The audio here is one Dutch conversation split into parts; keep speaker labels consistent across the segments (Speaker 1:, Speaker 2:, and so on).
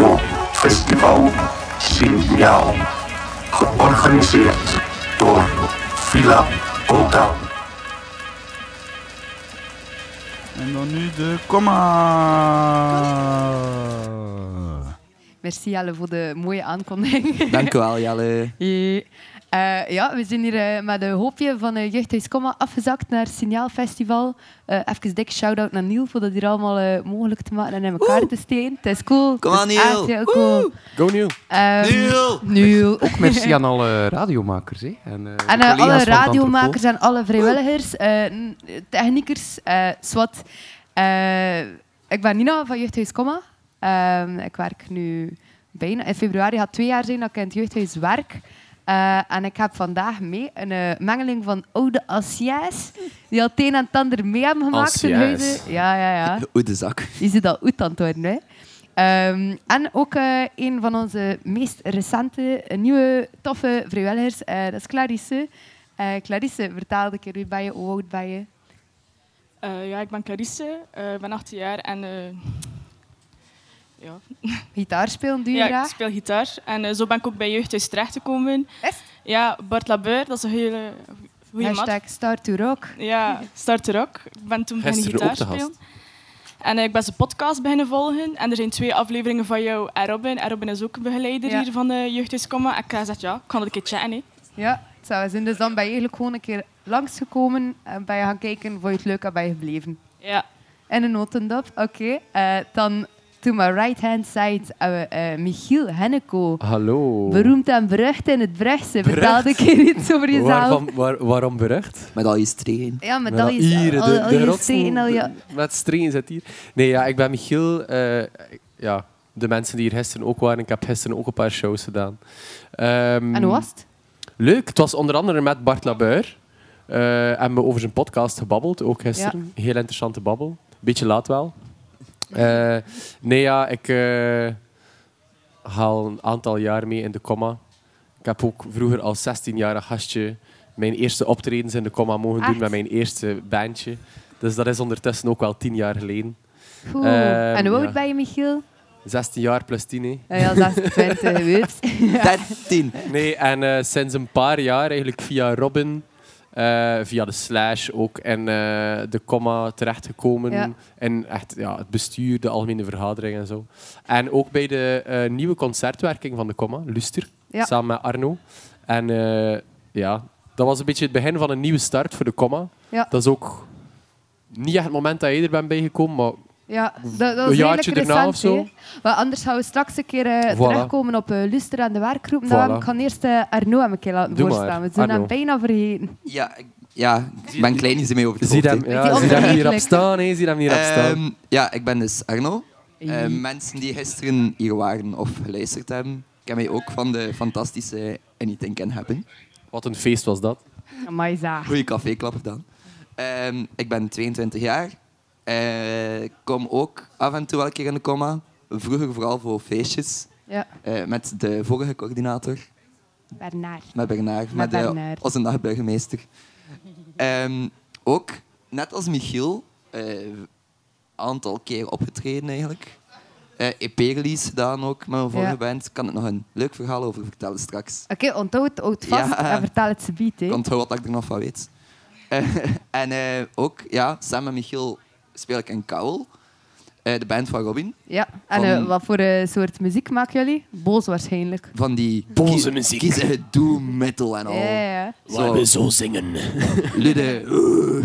Speaker 1: radiofestival Signaal. Georganiseerd door Villa Volta.
Speaker 2: En dan nu de komma.
Speaker 3: Merci Jelle voor de mooie aankondiging.
Speaker 4: Dankjewel, Jelle.
Speaker 3: Eh, ja, we zijn hier eh, met een hoopje van eh Jeugdhuis Komma afgezakt naar het Signaalfestival. Eh even dik shout-out naar Niel voor dat hier allemaal eh, mogelijk te maken en in elkaar te steken. Het is cool.
Speaker 4: Kom
Speaker 3: Het
Speaker 4: aan,
Speaker 3: is
Speaker 4: Niel.
Speaker 3: echt heel cool.
Speaker 5: Go Neil.
Speaker 3: Ehm,
Speaker 4: Niel.
Speaker 3: Niel.
Speaker 5: Ook merci aan alle radiomakers. Hè. En, eh, de
Speaker 3: En eh,
Speaker 5: collega's van
Speaker 3: alle
Speaker 5: het
Speaker 3: radiomakers en alle vrijwilligers, eh, n- techniekers, eh SWAT. Eh, ik ben Nina van Jeugdhuis Comma. Ehm, ik werk nu bijna... In februari gaat twee jaar zijn dat ik in het jeugdhuis werk. Eh, en ik heb vandaag mee een eh, mengeling van oude anciens die al het een en het ander mee hebben gemaakt in
Speaker 6: Anciens.
Speaker 3: huizen. Ja, ja, ja.
Speaker 4: Oeh, de zak.
Speaker 3: Je ziet dat uit aan het worden, hè. Ehm, en ook eh, een van onze meest recente eh, nieuwe toffe vrijwilligers, eh, dat is Clarisse. Eh, Clarisse, vertel een keer, wie ben je, hoe oud ben je?
Speaker 7: Eh, ja, ik ben Clarisse, eh, ik ben 18 jaar en eh, ja.
Speaker 3: Gitaar spelen doe je
Speaker 7: ja, ik
Speaker 3: graag?
Speaker 7: speel gitaar. En eh, zo ben ik ook bij Jeugdhuis terechtgekomen.
Speaker 3: Echt?
Speaker 7: Ja, Bart Labeur, dat is een hele goede man.
Speaker 3: Hashtag start to rock.
Speaker 7: Ja, starter ook. Ik ben toen beginnen gitaar
Speaker 6: Gisteren ook te
Speaker 7: spelen.
Speaker 6: gast.
Speaker 7: En eh, ik ben zijn podcast beginnen volgen. En er zijn twee afleveringen van jou en Robin. En Robin is ook een begeleider
Speaker 3: Ja.
Speaker 7: hier van de Jeugdhuis Komma. En ik heb gezegd, ja, ik kan dat een keer chatten. hè.
Speaker 3: Ja, het zou zijn. Dus dan ben je eigenlijk gewoon een keer langsgekomen en ben je gaan kijken, vond je het leuk en ben je gebleven.
Speaker 7: Ja.
Speaker 3: En een notendop, oké. Eh, dan, to my right hand side, hebben we eh, Michiel Henneko.
Speaker 5: kantoor. Hallo.
Speaker 3: Beroemd en berucht in het Brechtse.
Speaker 5: Berucht?
Speaker 3: Vertel een keer iets over jezelf.
Speaker 5: Waarvan, waar, waarom berecht?
Speaker 4: Met al je streken.
Speaker 3: Ja, maar
Speaker 5: Wel,
Speaker 3: dat is
Speaker 5: hier,
Speaker 3: al,
Speaker 5: de,
Speaker 3: al
Speaker 5: de
Speaker 3: je nou
Speaker 5: rotsen, Mm.
Speaker 3: stenen, al je...
Speaker 5: de- Met streken zit hier. Nee, ja, ik ben Michiel. eh, ja, de mensen die hier gisteren ook waren. Ik heb gisteren ook een paar shows gedaan. Ehm,
Speaker 3: En hoe was het?
Speaker 5: Leuk. Het was onder andere met Bart Labuur. eh en we over zijn podcast gebabbeld, ook gisteren. Heel interessante babbel. Beetje laat wel. Eh, nee, ja, ik eh, haal een aantal jaar mee in de comma. Ik heb ook vroeger als 16-jarig gastje mijn eerste optredens in de comma mogen
Speaker 3: Echt?
Speaker 5: doen met mijn eerste bandje. Dus dat is ondertussen ook wel 10 jaar geleden.
Speaker 3: Goed.
Speaker 5: Ehm,
Speaker 3: en hoe oud
Speaker 5: ja.
Speaker 3: ben je, Michiel? Nou
Speaker 5: 16 jaar plus 10, hè.
Speaker 3: Ja, ja, 26, whoops. Ja.
Speaker 4: 13.
Speaker 5: Nee, en eh, sinds een paar jaar eigenlijk via Robin, eh, via de slash ook en eh, de comma terechtgekomen.
Speaker 3: Ja.
Speaker 5: En echt ja, het bestuur, de algemene vergadering en zo. En ook bij de eh, nieuwe concertwerking van de comma, Luster,
Speaker 3: Ja.
Speaker 5: samen met Arno. En eh, ja, dat was een beetje het begin van een nieuwe start voor de comma.
Speaker 3: Ja.
Speaker 5: Dat is ook niet echt het moment dat je er bent bijgekomen, maar
Speaker 3: Ja, dat, dat
Speaker 5: Een
Speaker 3: is redelijk
Speaker 5: jaartje erna
Speaker 3: recent,
Speaker 5: of zo.
Speaker 3: hè. Maar anders gaan we straks een keer eh,
Speaker 5: Voilà.
Speaker 3: terugkomen op eh, Luster en de werkgroep. Nou,
Speaker 5: Voilà.
Speaker 3: ik ga eerst eh, Arno hem een keer laten
Speaker 5: Doe maar,
Speaker 3: voorstaan. We zijn hem
Speaker 5: Arno.
Speaker 3: bijna vergeten.
Speaker 4: Ja, ik, ja, ik ben klein, niet mee over het
Speaker 5: zie
Speaker 4: hoofd,
Speaker 5: hem,
Speaker 4: hè.
Speaker 5: ja,
Speaker 3: Die
Speaker 5: zie hem hierop
Speaker 3: onvergetelijk.
Speaker 5: staan. hè, Zie hem hierop staan.
Speaker 4: Ehm, ja, ik ben dus Arno. Eh, mensen die gisteren hier waren of geluisterd hebben, kennen mij ook van de fantastische Anything Can Happen.
Speaker 5: Wat een feest was dat.
Speaker 3: Amai, za.
Speaker 4: Goeie caféklapper dan. Ehm, ik ben 22 jaar. Eh, Ik kom ook af en toe wel een keer in de comma. Vroeger vooral voor feestjes.
Speaker 3: Ja,
Speaker 4: eh, met de vorige coördinator,
Speaker 3: Bernard.
Speaker 4: met Bernard, met, de-
Speaker 3: Bernard.
Speaker 4: onze nachtburgemeester. Ehm, ook, net als Michiel, een aantal keer opgetreden eigenlijk. Eh EP-release gedaan ook met mijn vorige
Speaker 3: Ja.
Speaker 4: band. Kan ik nog een leuk verhaal over vertellen straks.
Speaker 3: Oké, onthoud het oud vast
Speaker 4: Ja.
Speaker 3: en vertel het ze biedt.
Speaker 4: Ik onthoud wat ik er nog van weet. Eh, en eh, ook, ja, samen met Michiel speel ik in Kouwel. Eh, de band van Robin.
Speaker 3: Ja, en
Speaker 4: Van-
Speaker 3: eh, wat voor eh, soort muziek maken jullie? Boos waarschijnlijk.
Speaker 4: Van die
Speaker 6: Boze
Speaker 4: kie-
Speaker 6: muziek.
Speaker 4: kiezige doom metal en al.
Speaker 5: Oh.
Speaker 3: Ja, ja,
Speaker 5: Eh.
Speaker 3: ja.
Speaker 4: Zo.
Speaker 6: Waar we zo zingen.
Speaker 4: Lude.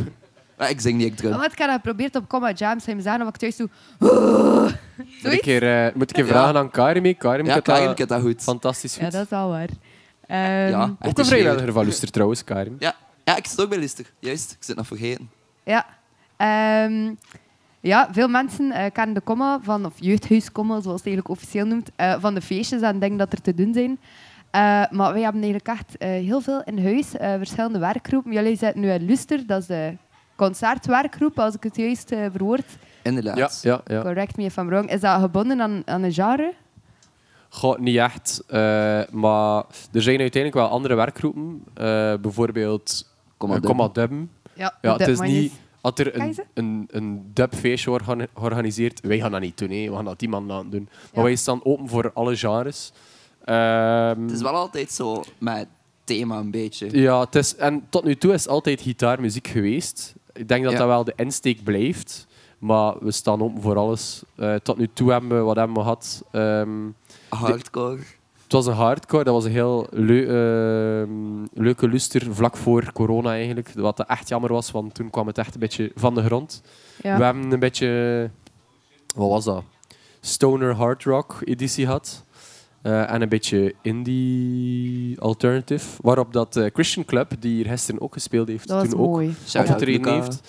Speaker 4: Maar ik zing niet, ik drum.
Speaker 3: Oh, Wat ik had geprobeerd op Comma Jams, hij me zeggen of ik thuis doe...
Speaker 5: Moet ik,
Speaker 3: Zoiets?
Speaker 5: hier, eh, moet ik hier vragen aan Karim? hè? Karim
Speaker 4: Ja,
Speaker 5: kan
Speaker 4: Karim
Speaker 5: dat
Speaker 4: kent dat goed.
Speaker 5: fantastisch goed.
Speaker 3: Ja, dat is al waar. Ehm,
Speaker 4: Ja.
Speaker 3: ja.
Speaker 5: Ook
Speaker 4: Het
Speaker 5: een
Speaker 4: is
Speaker 5: vrijwilliger van Luster trouwens, Karim.
Speaker 4: Ja, ja, ik zit ook bij Lister. Juist, ik zit nog vergeten.
Speaker 3: Ehm, ja, veel mensen eh, kennen de comma van, of jeugdhuiskomma, zoals het eigenlijk officieel noemt, eh, van de feestjes en dingen dat er te doen zijn. Eh, maar wij hebben eigenlijk echt eh, heel veel in huis, eh, verschillende werkgroepen. Jullie zitten nu in Luster, dat is de concertwerkgroep, als ik het juist eh, verwoord.
Speaker 4: Inderdaad.
Speaker 5: Ja, ja, ja.
Speaker 3: Correct me if I'm wrong. Is dat gebonden aan, aan een genre?
Speaker 5: Goh, niet echt. eh, maar er zijn uiteindelijk wel andere werkgroepen. Eh, bijvoorbeeld
Speaker 4: Kom maar,
Speaker 5: eh,
Speaker 4: doen.
Speaker 5: Comma Dubben.
Speaker 3: Ja,
Speaker 5: Ja,
Speaker 3: op dat
Speaker 5: het is
Speaker 3: manier.
Speaker 5: niet Had er
Speaker 3: Kan je
Speaker 5: een,
Speaker 3: ze?
Speaker 5: een, een dubfeestje orga- georganiseerd, wij gaan dat niet doen, hè. we gaan dat die man laten doen. Maar wij staan open voor alle genres. Ehm,
Speaker 4: Het is wel altijd zo met thema een beetje.
Speaker 5: Ja, het is, en tot nu toe is altijd gitaarmuziek geweest. Ik denk dat
Speaker 4: Ja.
Speaker 5: dat wel de insteek blijft. Maar we staan open voor alles. Eh, tot nu toe hebben we wat hebben we gehad. Ehm,
Speaker 4: Hardcore.
Speaker 5: het was een hardcore, dat was een heel leu- ehm, leuke luster vlak voor corona eigenlijk. Wat echt jammer was, want toen kwam het echt een beetje van de grond.
Speaker 3: Ja.
Speaker 5: We hebben een beetje, wat was dat? Stoner hard rock editie gehad. Eh, en een beetje indie alternative. Waarop dat eh, Christian Club, die hier gisteren ook gespeeld heeft,
Speaker 3: Dat was
Speaker 5: toen ook
Speaker 3: mooi.
Speaker 4: Shout-out
Speaker 5: opgetreden
Speaker 4: Luca.
Speaker 5: heeft.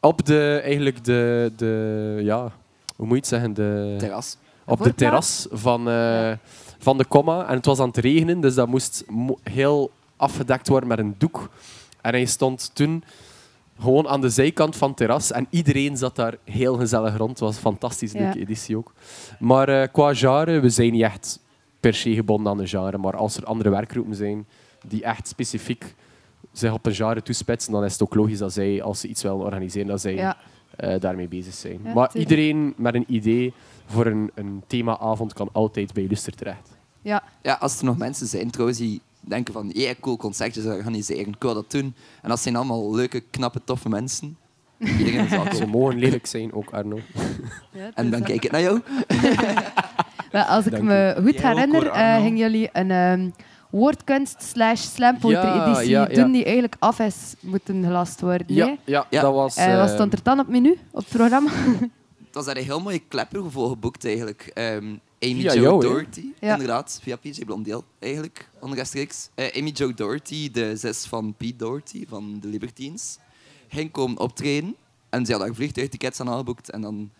Speaker 5: Op de, eigenlijk de, de, ja, hoe moet je het zeggen? De,
Speaker 4: Terras.
Speaker 5: op de
Speaker 3: Voorplaats.
Speaker 5: terras van, eh, van de comma. En het was aan het regenen, dus dat moest mo- heel afgedekt worden met een doek. En hij stond toen gewoon aan de zijkant van het terras. En iedereen zat daar heel gezellig rond. Het was een fantastisch
Speaker 3: Ja.
Speaker 5: leuke editie ook. Maar eh, qua genre, we zijn niet echt per se gebonden aan een genre. Maar als er andere werkgroepen zijn die echt specifiek zich op een genre toespitsen, dan is het ook logisch dat zij, als ze iets willen organiseren, dat zij
Speaker 3: Ja.
Speaker 5: eh, daarmee bezig zijn.
Speaker 3: Ja,
Speaker 5: maar
Speaker 3: tuurlijk.
Speaker 5: iedereen met een idee voor een, een themaavond kan altijd bij Luster terecht.
Speaker 3: Ja.
Speaker 4: Ja, als er nog mensen zijn trouwens die denken van, ja, cool, concertjes organiseren, ik wil dat doen. En dat zijn allemaal leuke, knappe, toffe mensen. Iedereen is
Speaker 5: Ze
Speaker 4: welkom.
Speaker 5: mogen lelijk zijn, ook Arno.
Speaker 4: En dan kijk ik naar jou.
Speaker 3: Maar als ik
Speaker 5: Dank
Speaker 3: me goed
Speaker 4: Jij ook,
Speaker 3: herinner,
Speaker 4: hoor,
Speaker 3: eh,
Speaker 4: Arno.
Speaker 3: gingen jullie een ehm, woordkunst slash slam poetry
Speaker 5: Ja,
Speaker 3: editie
Speaker 5: ja, ja.
Speaker 3: doen die eigenlijk af is moeten gelast worden. hè?
Speaker 5: ja,
Speaker 4: Ja.
Speaker 5: dat was...
Speaker 3: Eh, wat
Speaker 5: eh,
Speaker 3: stond er dan op het menu, op het programma?
Speaker 4: Het was daar een heel mooie klepper voor geboekt eigenlijk. Ehm, Amy
Speaker 5: Via
Speaker 4: Jo
Speaker 5: jou, hè?
Speaker 4: Doherty,
Speaker 3: Ja.
Speaker 4: inderdaad. Via PJ Blondeel eigenlijk, onrechtstreeks. Eh, Amy Jo Doherty, de zus van Pete Doherty van de Libertines, ging komen optreden. En ze had haar vliegtuigtickets aan geboekt. En dan,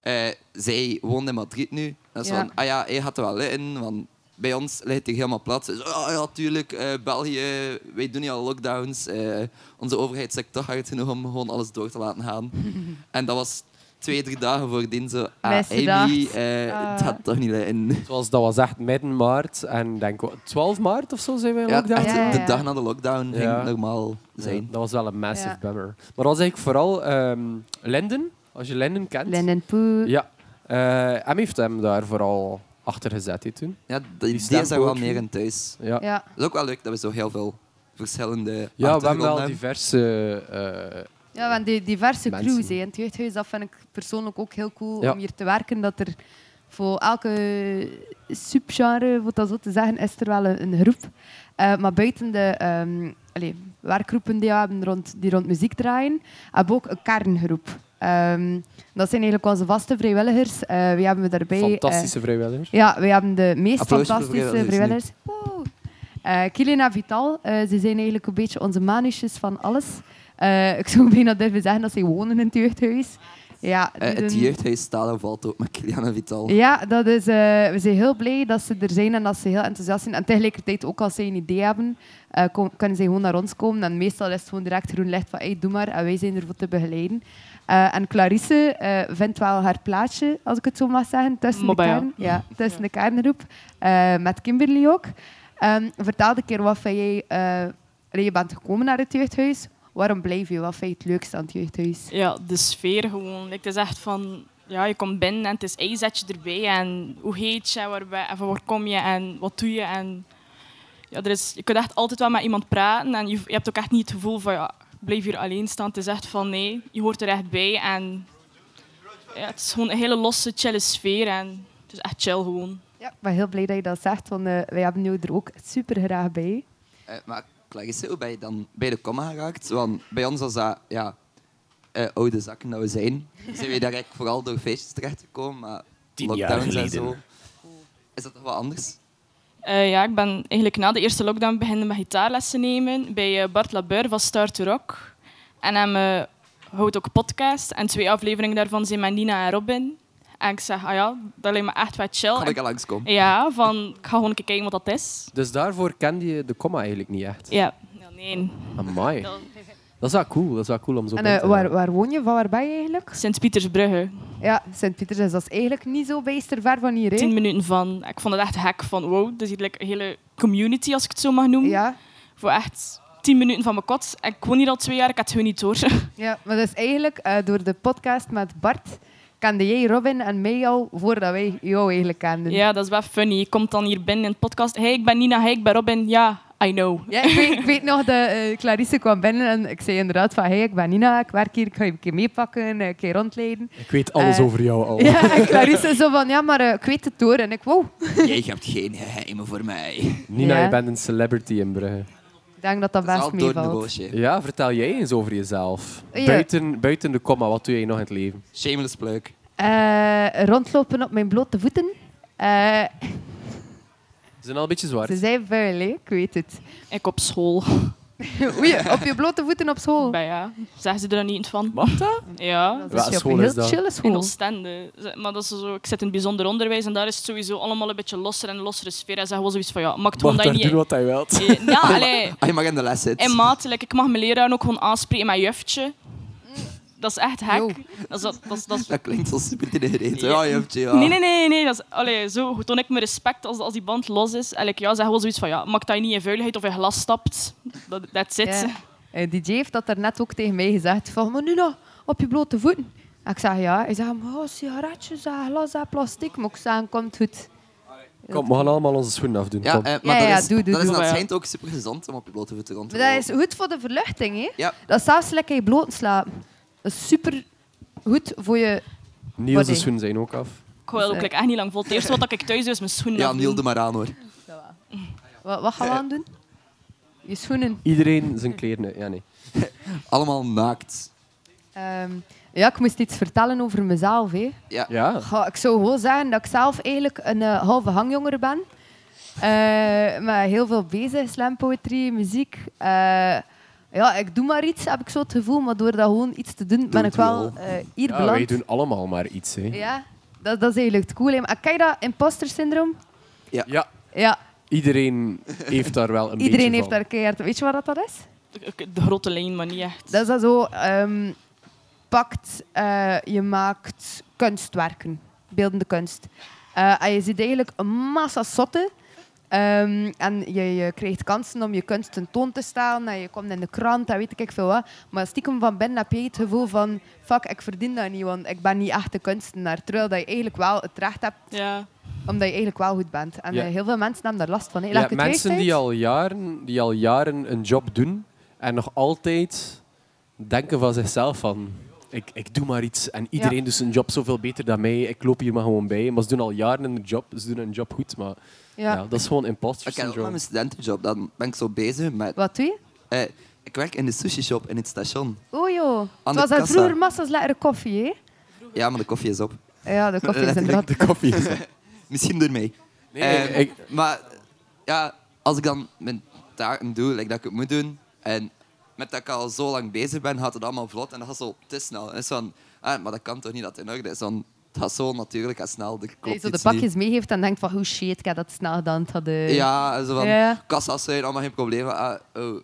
Speaker 4: eh, zij woont in Madrid nu. En ze
Speaker 3: Ja.
Speaker 4: van, ah ja, hij gaat er wel in, want bij ons ligt hij helemaal plat. Ze zei, ah ja, tuurlijk, eh, België, wij doen niet al lockdowns. Eh, onze overheid zegt toch hard genoeg om gewoon alles door te laten gaan. en dat was twee, drie dagen voordien zo, ah,
Speaker 3: Mensen
Speaker 4: Amy,
Speaker 3: dacht,
Speaker 4: eh, het
Speaker 3: ah.
Speaker 4: gaat toch niet in.
Speaker 5: het was, dat was echt midden maart en denk ik, 12 maart of zo zijn we in
Speaker 4: Ja,
Speaker 5: lockdown.
Speaker 4: echt,
Speaker 3: Ja, ja,
Speaker 4: de
Speaker 3: ja.
Speaker 4: dag na de lockdown ging
Speaker 5: Ja.
Speaker 4: het normaal zijn.
Speaker 5: Ja, dat was wel een massive
Speaker 3: Ja.
Speaker 5: bummer. Maar dat was eigenlijk vooral ehm Linden, als je Linden kent.
Speaker 3: Lennon Poe.
Speaker 5: Ja. Eh hem heeft hem daar vooral achter gezet hè, toen.
Speaker 4: Ja, die, die
Speaker 5: stem
Speaker 4: is daar wel
Speaker 5: ook,
Speaker 4: meer
Speaker 5: hè?
Speaker 4: in thuis.
Speaker 5: Ja.
Speaker 3: Ja.
Speaker 4: Het is ook wel leuk dat we zo heel veel verschillende
Speaker 5: Ja, we hebben
Speaker 4: achtergronden
Speaker 5: wel diverse... eh,
Speaker 3: Ja, want die diverse
Speaker 5: Mensen.
Speaker 3: crews hè, in het jeugdhuis, dat vind ik persoonlijk ook heel cool
Speaker 5: Ja.
Speaker 3: om hier te werken. Dat er voor elke subgenre, om het dat zo te zeggen, is er wel een, een groep. Eh, maar buiten de ehm, allee, werkgroepen die we hebben rond, die rond muziek draaien, hebben we ook een kerngroep. Ehm, dat zijn eigenlijk onze vaste vrijwilligers. Eh wie hebben we daarbij? Eh,
Speaker 5: Fantastische vrijwilligers.
Speaker 3: ja, we hebben de meest
Speaker 4: Applaus voor de
Speaker 3: fantastische
Speaker 4: vrijwilligers,
Speaker 3: vrijwilligers. Woe! Eh Kilena Vital, eh, ze zijn eigenlijk een beetje onze manusjes van alles. Eh, ik zou bijna durven zeggen dat ze wonen in het jeugdhuis. Ja, dus
Speaker 4: Eh,
Speaker 3: die
Speaker 4: het
Speaker 3: doen-
Speaker 4: jeugdhuis staat en valt ook met Kiliana Vital.
Speaker 3: ja, dat is, eh, we zijn heel blij dat ze er zijn en dat ze heel enthousiast zijn. En tegelijkertijd, ook als ze een idee hebben, eh, kom- kunnen ze gewoon naar ons komen. En meestal is het gewoon direct groen licht van, hey, doe maar. En wij zijn ervoor te begeleiden. Eh, en Clarisse eh, vindt wel haar plaatje, als ik het zo mag zeggen, tussen, de,
Speaker 7: Maar ja.
Speaker 3: kern, ja, tussen de kerngroep. eh, met Kimberly ook. Ehm, vertel de keer wat vind jij... eh, allee, je bent gekomen naar het jeugdhuis. Waarom blijf je? Wat vind je het leukste aan het jeugdhuis?
Speaker 7: Ja, de sfeer gewoon. Het is echt van, ja, je komt binnen en het is één zetje erbij. En hoe heet je, waar, ben- en van waar kom je en wat doe je. En, ja, er is, je kunt echt altijd wel met iemand praten en je, je hebt ook echt niet het gevoel van, ja, ik blijf hier alleen staan. Het is echt van, nee, je hoort er echt bij. En ja, het is gewoon een hele losse, chille sfeer. En het is echt chill gewoon.
Speaker 3: Ja, ik ben heel blij dat je dat zegt, want eh, wij hebben jou er ook super graag bij.
Speaker 4: Eh, maar Clarisse, hoe ben je dan bij de comma geraakt? Want bij ons was dat, ja, eh, oude zakken dat we zijn. Zijn we daar eigenlijk vooral door feestjes terechtgekomen, maar
Speaker 5: Tien jaar
Speaker 4: lockdowns en zo.
Speaker 5: geleden.
Speaker 4: Is dat toch wel anders?
Speaker 7: Eh, ja, ik ben eigenlijk na de eerste lockdown beginnen met gitaarlessen nemen bij eh, Bart Labeur van Start to Rock. En hem eh, houdt ook een podcast en twee afleveringen daarvan zijn met Nina en Robin. En ik zeg, ah ja, dat lijkt me echt wat chill.
Speaker 4: Kan ik
Speaker 7: En-
Speaker 4: al langskomen?
Speaker 7: ja, van, ik ga gewoon een keer kijken wat dat is.
Speaker 5: Dus daarvoor kende je de comma eigenlijk niet echt.
Speaker 7: Ja, Ja, nee.
Speaker 5: Amai. Dat is wel cool. Dat is wel cool om zo
Speaker 3: en
Speaker 5: bij
Speaker 3: eh,
Speaker 5: te-
Speaker 3: waar, waar woon je? Van waar ben je eigenlijk?
Speaker 7: Sint-Pietersbrugge,
Speaker 3: Ja, Sint-Pieters is dat is eigenlijk niet zo bijster ver van hier. hè?
Speaker 7: tien minuten van. Ik vond het echt hek van, wow, dat is hier like, een hele community, als ik het zo mag noemen.
Speaker 3: Ja,
Speaker 7: Voor echt tien minuten van mijn kot. En ik woon hier al twee jaar, ik had het gewoon niet door.
Speaker 3: Ja, maar dat is eigenlijk eh, door de podcast met Bart kende jij Robin en mij al voordat wij jou eigenlijk kenden.
Speaker 7: ja, dat is wel funny. Je komt dan hier binnen in de podcast. Hey, ik ben Nina, hey, ik ben Robin. Ja, I know.
Speaker 3: Ja, ik, weet, ik weet nog dat eh, Clarisse kwam binnen en ik zei inderdaad van hey, ik ben Nina, ik werk hier, ik ga je een keer meepakken, eh, een keer rondleiden.
Speaker 5: Ik weet alles
Speaker 3: Eh,
Speaker 5: over jou
Speaker 4: Oh.
Speaker 5: al.
Speaker 3: Ja, en Clarisse zo van ja, maar eh, ik weet het door. En ik, wow,
Speaker 4: Jij hebt geen geheimen voor mij.
Speaker 5: Nina,
Speaker 3: Ja.
Speaker 5: je bent een celebrity in Brugge.
Speaker 3: ik denk dat dat
Speaker 4: Dat is
Speaker 3: best
Speaker 4: al door de
Speaker 3: meevalt.
Speaker 4: boosje.
Speaker 5: Ja, vertel jij eens over jezelf.
Speaker 3: Ja.
Speaker 5: Buiten, buiten de komma, wat doe jij nog in het leven?
Speaker 4: Shameless pleuk.
Speaker 3: Eh, rondlopen op mijn blote voeten. Eh,
Speaker 5: Ze zijn al een beetje
Speaker 3: ze
Speaker 5: zwart.
Speaker 3: zijn vuil, hè? ik weet het.
Speaker 7: Ik op school.
Speaker 3: Oei, op je blote voeten op school.
Speaker 7: Maar ja, zeggen ze er dan niet van?
Speaker 5: Mag dat?
Speaker 7: Ja.
Speaker 3: Oh. Dat
Speaker 5: Welke
Speaker 3: is op
Speaker 5: school
Speaker 3: een heel
Speaker 5: is dat?
Speaker 3: chille
Speaker 7: In
Speaker 3: school.
Speaker 7: Oostende. Ze- Maar dat is zo, ik zit in bijzonder onderwijs en daar is het sowieso allemaal een beetje losser en lossere sfeer. En zeggen we zoiets van, ja, maakt gewoon
Speaker 5: Mag
Speaker 7: dat je
Speaker 5: daar
Speaker 7: niet...
Speaker 5: doen wat hij wilt.
Speaker 7: Eh, Ja, allee.
Speaker 4: Ah, je mag in de les
Speaker 7: En
Speaker 4: zitten.
Speaker 7: maatelijk, ik mag mijn leraar ook gewoon aanspreken, mijn juftje. Dat is echt
Speaker 3: Yo.
Speaker 7: hek. Dat is, dat, dat is, dat is-
Speaker 4: Dat klinkt als super inherent.
Speaker 7: Nee.
Speaker 4: Ja, je hebt je. ja.
Speaker 7: Nee, nee, nee, nee. Dat is, allee, zo toon ik mijn respect als, als die band los is. En ik ja, zeg wel zoiets van, ja, maakt dat je niet in vuiligheid of in glas stapt. Dat that's it.
Speaker 3: Ja. Eh, DJ heeft dat daarnet ook tegen mij gezegd. Van, maar nu nou, op je blote voeten. En ik zeg ja. Hij zegt, maar oh, sigaretjes, en glas en plastic. Maar ik zeg, komt goed.
Speaker 5: Kom, we gaan allemaal onze schoenen afdoen.
Speaker 4: Ja,
Speaker 5: Kom.
Speaker 4: eh,
Speaker 3: Ja,
Speaker 4: maar
Speaker 3: ja,
Speaker 4: dat is,
Speaker 3: doe, doe,
Speaker 4: dat is
Speaker 3: doe.
Speaker 4: aan het
Speaker 7: Ja.
Speaker 4: schijnt ook super gezond om op je blote voeten rond te
Speaker 3: Maar dat
Speaker 4: lopen.
Speaker 3: is goed voor de verluchting. Hè?
Speaker 4: Ja.
Speaker 3: Dat is zelfs lekker je bloot slapen. Dat is super goed voor je...
Speaker 5: Niels'
Speaker 3: Body.
Speaker 5: schoenen zijn ook af.
Speaker 7: Ik wil ook like, echt niet lang vol. Het eerste wat ik thuis doe, is mijn schoenen
Speaker 4: Ja,
Speaker 7: afdoen.
Speaker 4: Niel de maar aan hoor.
Speaker 3: Wat, wat gaan
Speaker 5: Eh.
Speaker 3: we aan doen? Je schoenen.
Speaker 5: Iedereen zijn kleren. Ja, nee.
Speaker 4: Allemaal naakt.
Speaker 3: Ehm, ja, ik moest iets vertellen over mezelf. Hè.
Speaker 5: Ja,
Speaker 3: Goh, ik zou gewoon zeggen dat ik zelf eigenlijk een eh, halve hangjonger ben. Eh maar heel veel bezig, slampoetry, muziek. Eh, ja, ik doe maar iets, heb ik zo het gevoel. Maar door dat gewoon iets te doen, ben
Speaker 4: het
Speaker 3: ik wel
Speaker 4: wel.
Speaker 3: eh hier
Speaker 5: ja wij
Speaker 3: beland.
Speaker 5: doen allemaal maar iets. Hè.
Speaker 3: Ja, dat, dat is eigenlijk het cool. hè. Maar kijk dat, imposter syndroom.
Speaker 5: Ja,
Speaker 3: Ja,
Speaker 5: iedereen heeft daar wel een
Speaker 3: iedereen
Speaker 5: beetje
Speaker 3: heeft
Speaker 5: van.
Speaker 3: daar keihard... Weet je wat dat is?
Speaker 7: Ik- De grote lijn, maar niet echt.
Speaker 3: Dat is dat zo... ehm, pakt, eh, je maakt kunstwerken. Beeldende kunst. Eh, en je ziet eigenlijk een massa sotten. Ehm, en je, je krijgt kansen om je kunst tentoon te stellen. En je komt in de krant en weet ik veel wat. Maar stiekem van binnen heb je het gevoel van... Fuck, ik verdien dat niet, want ik ben niet echt een kunstenaar. Terwijl dat je eigenlijk wel het recht hebt,
Speaker 7: Ja.
Speaker 3: omdat je eigenlijk wel goed bent. En
Speaker 5: Ja.
Speaker 3: eh, heel veel mensen hebben daar last van. hè.
Speaker 5: Ja,
Speaker 3: Laat ik het
Speaker 5: mensen
Speaker 3: juist
Speaker 5: die
Speaker 3: uit?
Speaker 5: al, jaren, die al jaren een job doen en nog altijd denken van zichzelf van... Ik, ik doe maar iets en iedereen doet zijn job zoveel beter dan mij. Ik loop hier maar gewoon bij. Maar ze doen al jaren een job. Ze doen een job goed, maar ja.
Speaker 3: Ja.
Speaker 5: dat is gewoon imposter
Speaker 4: Ik ken ook met
Speaker 5: syndrome.
Speaker 4: mijn studentenjob. Dan ben ik zo bezig met...
Speaker 3: Wat doe je?
Speaker 4: eh, ik werk in de sushi shop in het station.
Speaker 3: Oh joh.
Speaker 4: Aan
Speaker 3: Het
Speaker 4: de
Speaker 3: was daar
Speaker 4: kassa.
Speaker 3: vroeger massa's lekkere koffie, hè?
Speaker 4: Ja, maar de koffie is op.
Speaker 3: Ja, de koffie is
Speaker 4: Letterlijk.
Speaker 3: inderdaad...
Speaker 5: Eh, De koffie is op.
Speaker 4: Misschien door mij.
Speaker 5: Nee,
Speaker 4: Ehm,
Speaker 5: ik-
Speaker 4: Maar ja, als ik dan mijn taken doe, like dat ik het moet doen, en met dat ik al zo lang bezig ben, gaat het allemaal vlot en dat gaat zo te snel. En het is van, ah, maar dat kan toch niet dat het in orde is? Want het gaat zo natuurlijk en snel. Er klopt
Speaker 3: Dat je zo de
Speaker 4: iets
Speaker 3: pakjes meegeeft en denkt van, hoe shit, ik heb dat snel gedaan. het had, eh,
Speaker 4: niet. Ja, en zo van,
Speaker 3: Ja.
Speaker 4: kassa's zijn allemaal geen probleem. Ah, oh,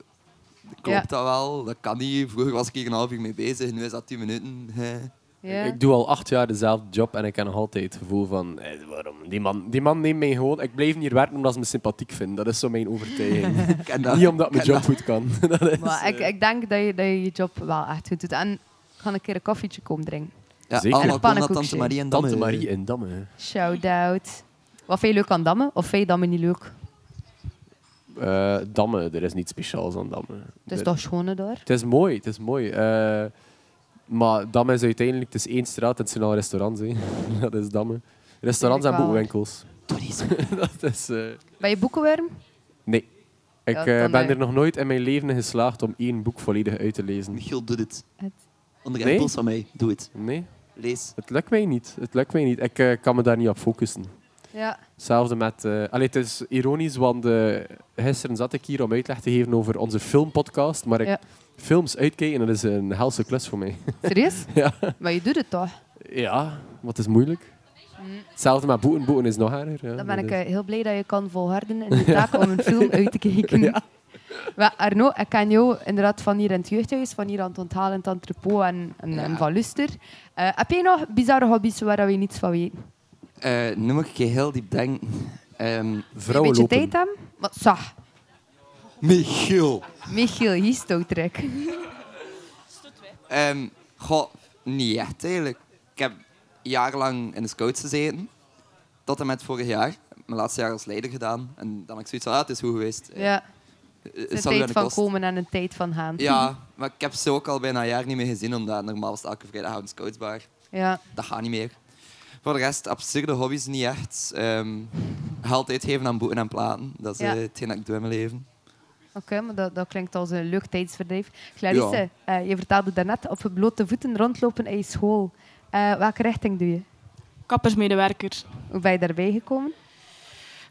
Speaker 4: klopt
Speaker 3: Ja.
Speaker 4: dat wel? Dat kan niet. Vroeger was ik hier een half uur mee bezig, nu is dat tien minuten. Eh.
Speaker 3: ja.
Speaker 5: Ik doe al acht jaar dezelfde job en ik heb nog altijd het gevoel van... eh, waarom? Die man, die man neemt mij gewoon... Ik blijf hier werken omdat ze me sympathiek vinden. Dat is zo mijn overtuiging.
Speaker 4: Ik ken dat.
Speaker 5: Niet omdat mijn
Speaker 4: Ik ken
Speaker 5: job goed kan. Dat is,
Speaker 3: Maar ik, ik denk dat je, dat je je job wel echt goed doet. En ik ga een keer een koffietje komen drinken.
Speaker 4: Ja,
Speaker 5: Zeker.
Speaker 4: allemaal kon dat Tante
Speaker 3: Pannenkoekje.
Speaker 4: Marie en eh,
Speaker 5: Tante
Speaker 4: Damme.
Speaker 5: Marie in Damme.
Speaker 3: Shout-out. Wat vind je leuk aan dammen? Of vind je dammen niet leuk?
Speaker 5: Eh, Damme, er is niets speciaals aan Damme.
Speaker 3: Het is
Speaker 5: Er-
Speaker 3: toch schone daar?
Speaker 5: het is mooi, het is mooi. Eh, maar Damme is uiteindelijk, het is één straat en het zijn al restaurants. Hè. Dat is Damme. Restaurants en
Speaker 3: Eigenlijk wel.
Speaker 5: boekwinkels. Dat is... eh,
Speaker 3: Ben je boekenworm?
Speaker 5: nee. Ik
Speaker 3: Ja,
Speaker 5: eh,
Speaker 3: dan,
Speaker 5: ben
Speaker 3: eh,
Speaker 5: er nog nooit in mijn leven in geslaagd om één boek volledig uit te lezen.
Speaker 4: Michiel, doe dit.
Speaker 3: Het.
Speaker 4: Onder
Speaker 5: Nee?
Speaker 4: impuls van mij, doe het.
Speaker 5: Nee,
Speaker 4: Lees.
Speaker 5: het lukt mij niet. Het lukt mij niet. Ik eh, kan me daar niet op focussen.
Speaker 3: Ja.
Speaker 5: Hetzelfde met... eh allee, het is ironisch, want eh, gisteren zat ik hier om uitleg te geven over onze filmpodcast, maar ik
Speaker 3: Ja.
Speaker 5: films uitkijken, dat is een helse klus voor mij.
Speaker 3: Serieus?
Speaker 5: Ja.
Speaker 3: Maar je doet het toch?
Speaker 5: Ja, wat is moeilijk. Hetzelfde met boeten. Boeten is nog erger. Ja.
Speaker 3: Dan ben ik
Speaker 5: Dat
Speaker 3: eh, heel blij dat je kan volharden in de taak om een film uit te kijken.
Speaker 5: Ja.
Speaker 3: Maar Arno, ik ken jou inderdaad van hier in het jeugdhuis, van hier aan het onthalen, in het entrepot en, en, en van Luster. Eh, heb jij nog bizarre hobby's waar we niets van weten?
Speaker 4: Eh, nu moet ik heel diep denken. Ehm,
Speaker 5: is-
Speaker 3: een
Speaker 5: Vrouwen
Speaker 3: beetje
Speaker 5: lopen.
Speaker 3: tijd hebben. Maar zag,
Speaker 4: Michiel.
Speaker 3: Michiel, histotrek.
Speaker 4: Ehm goh, niet echt eigenlijk. Ik heb jarenlang in de scouts gezeten. Tot en met vorig jaar. Mijn laatste jaar als leider gedaan. En dan had ik zoiets van, ah, het is goed geweest. Eh,
Speaker 3: Ja,
Speaker 4: eh,
Speaker 3: het is
Speaker 4: zal
Speaker 3: een
Speaker 4: wel
Speaker 3: tijd
Speaker 4: een
Speaker 3: van
Speaker 4: kost.
Speaker 3: komen en een tijd van gaan.
Speaker 4: Ja, maar ik heb ze ook al bijna een jaar niet meer gezien. Omdat normaal was het elke vrijdagavond scoutsbar.
Speaker 3: Ja.
Speaker 4: Dat gaat niet meer. Voor de rest, absurde hobby's niet echt. Ehm geld uitgeven aan boeken en platen. Dat is
Speaker 3: Ja.
Speaker 4: eh, hetgeen dat ik doe in mijn leven.
Speaker 3: Oké, maar dat, dat klinkt als een leuk tijdsverdrijf. Clarisse, eh, je vertelde daarnet op blote voeten rondlopen in je school. Eh, welke richting doe je?
Speaker 7: Kappersmedewerker.
Speaker 3: Hoe ben je daarbij gekomen?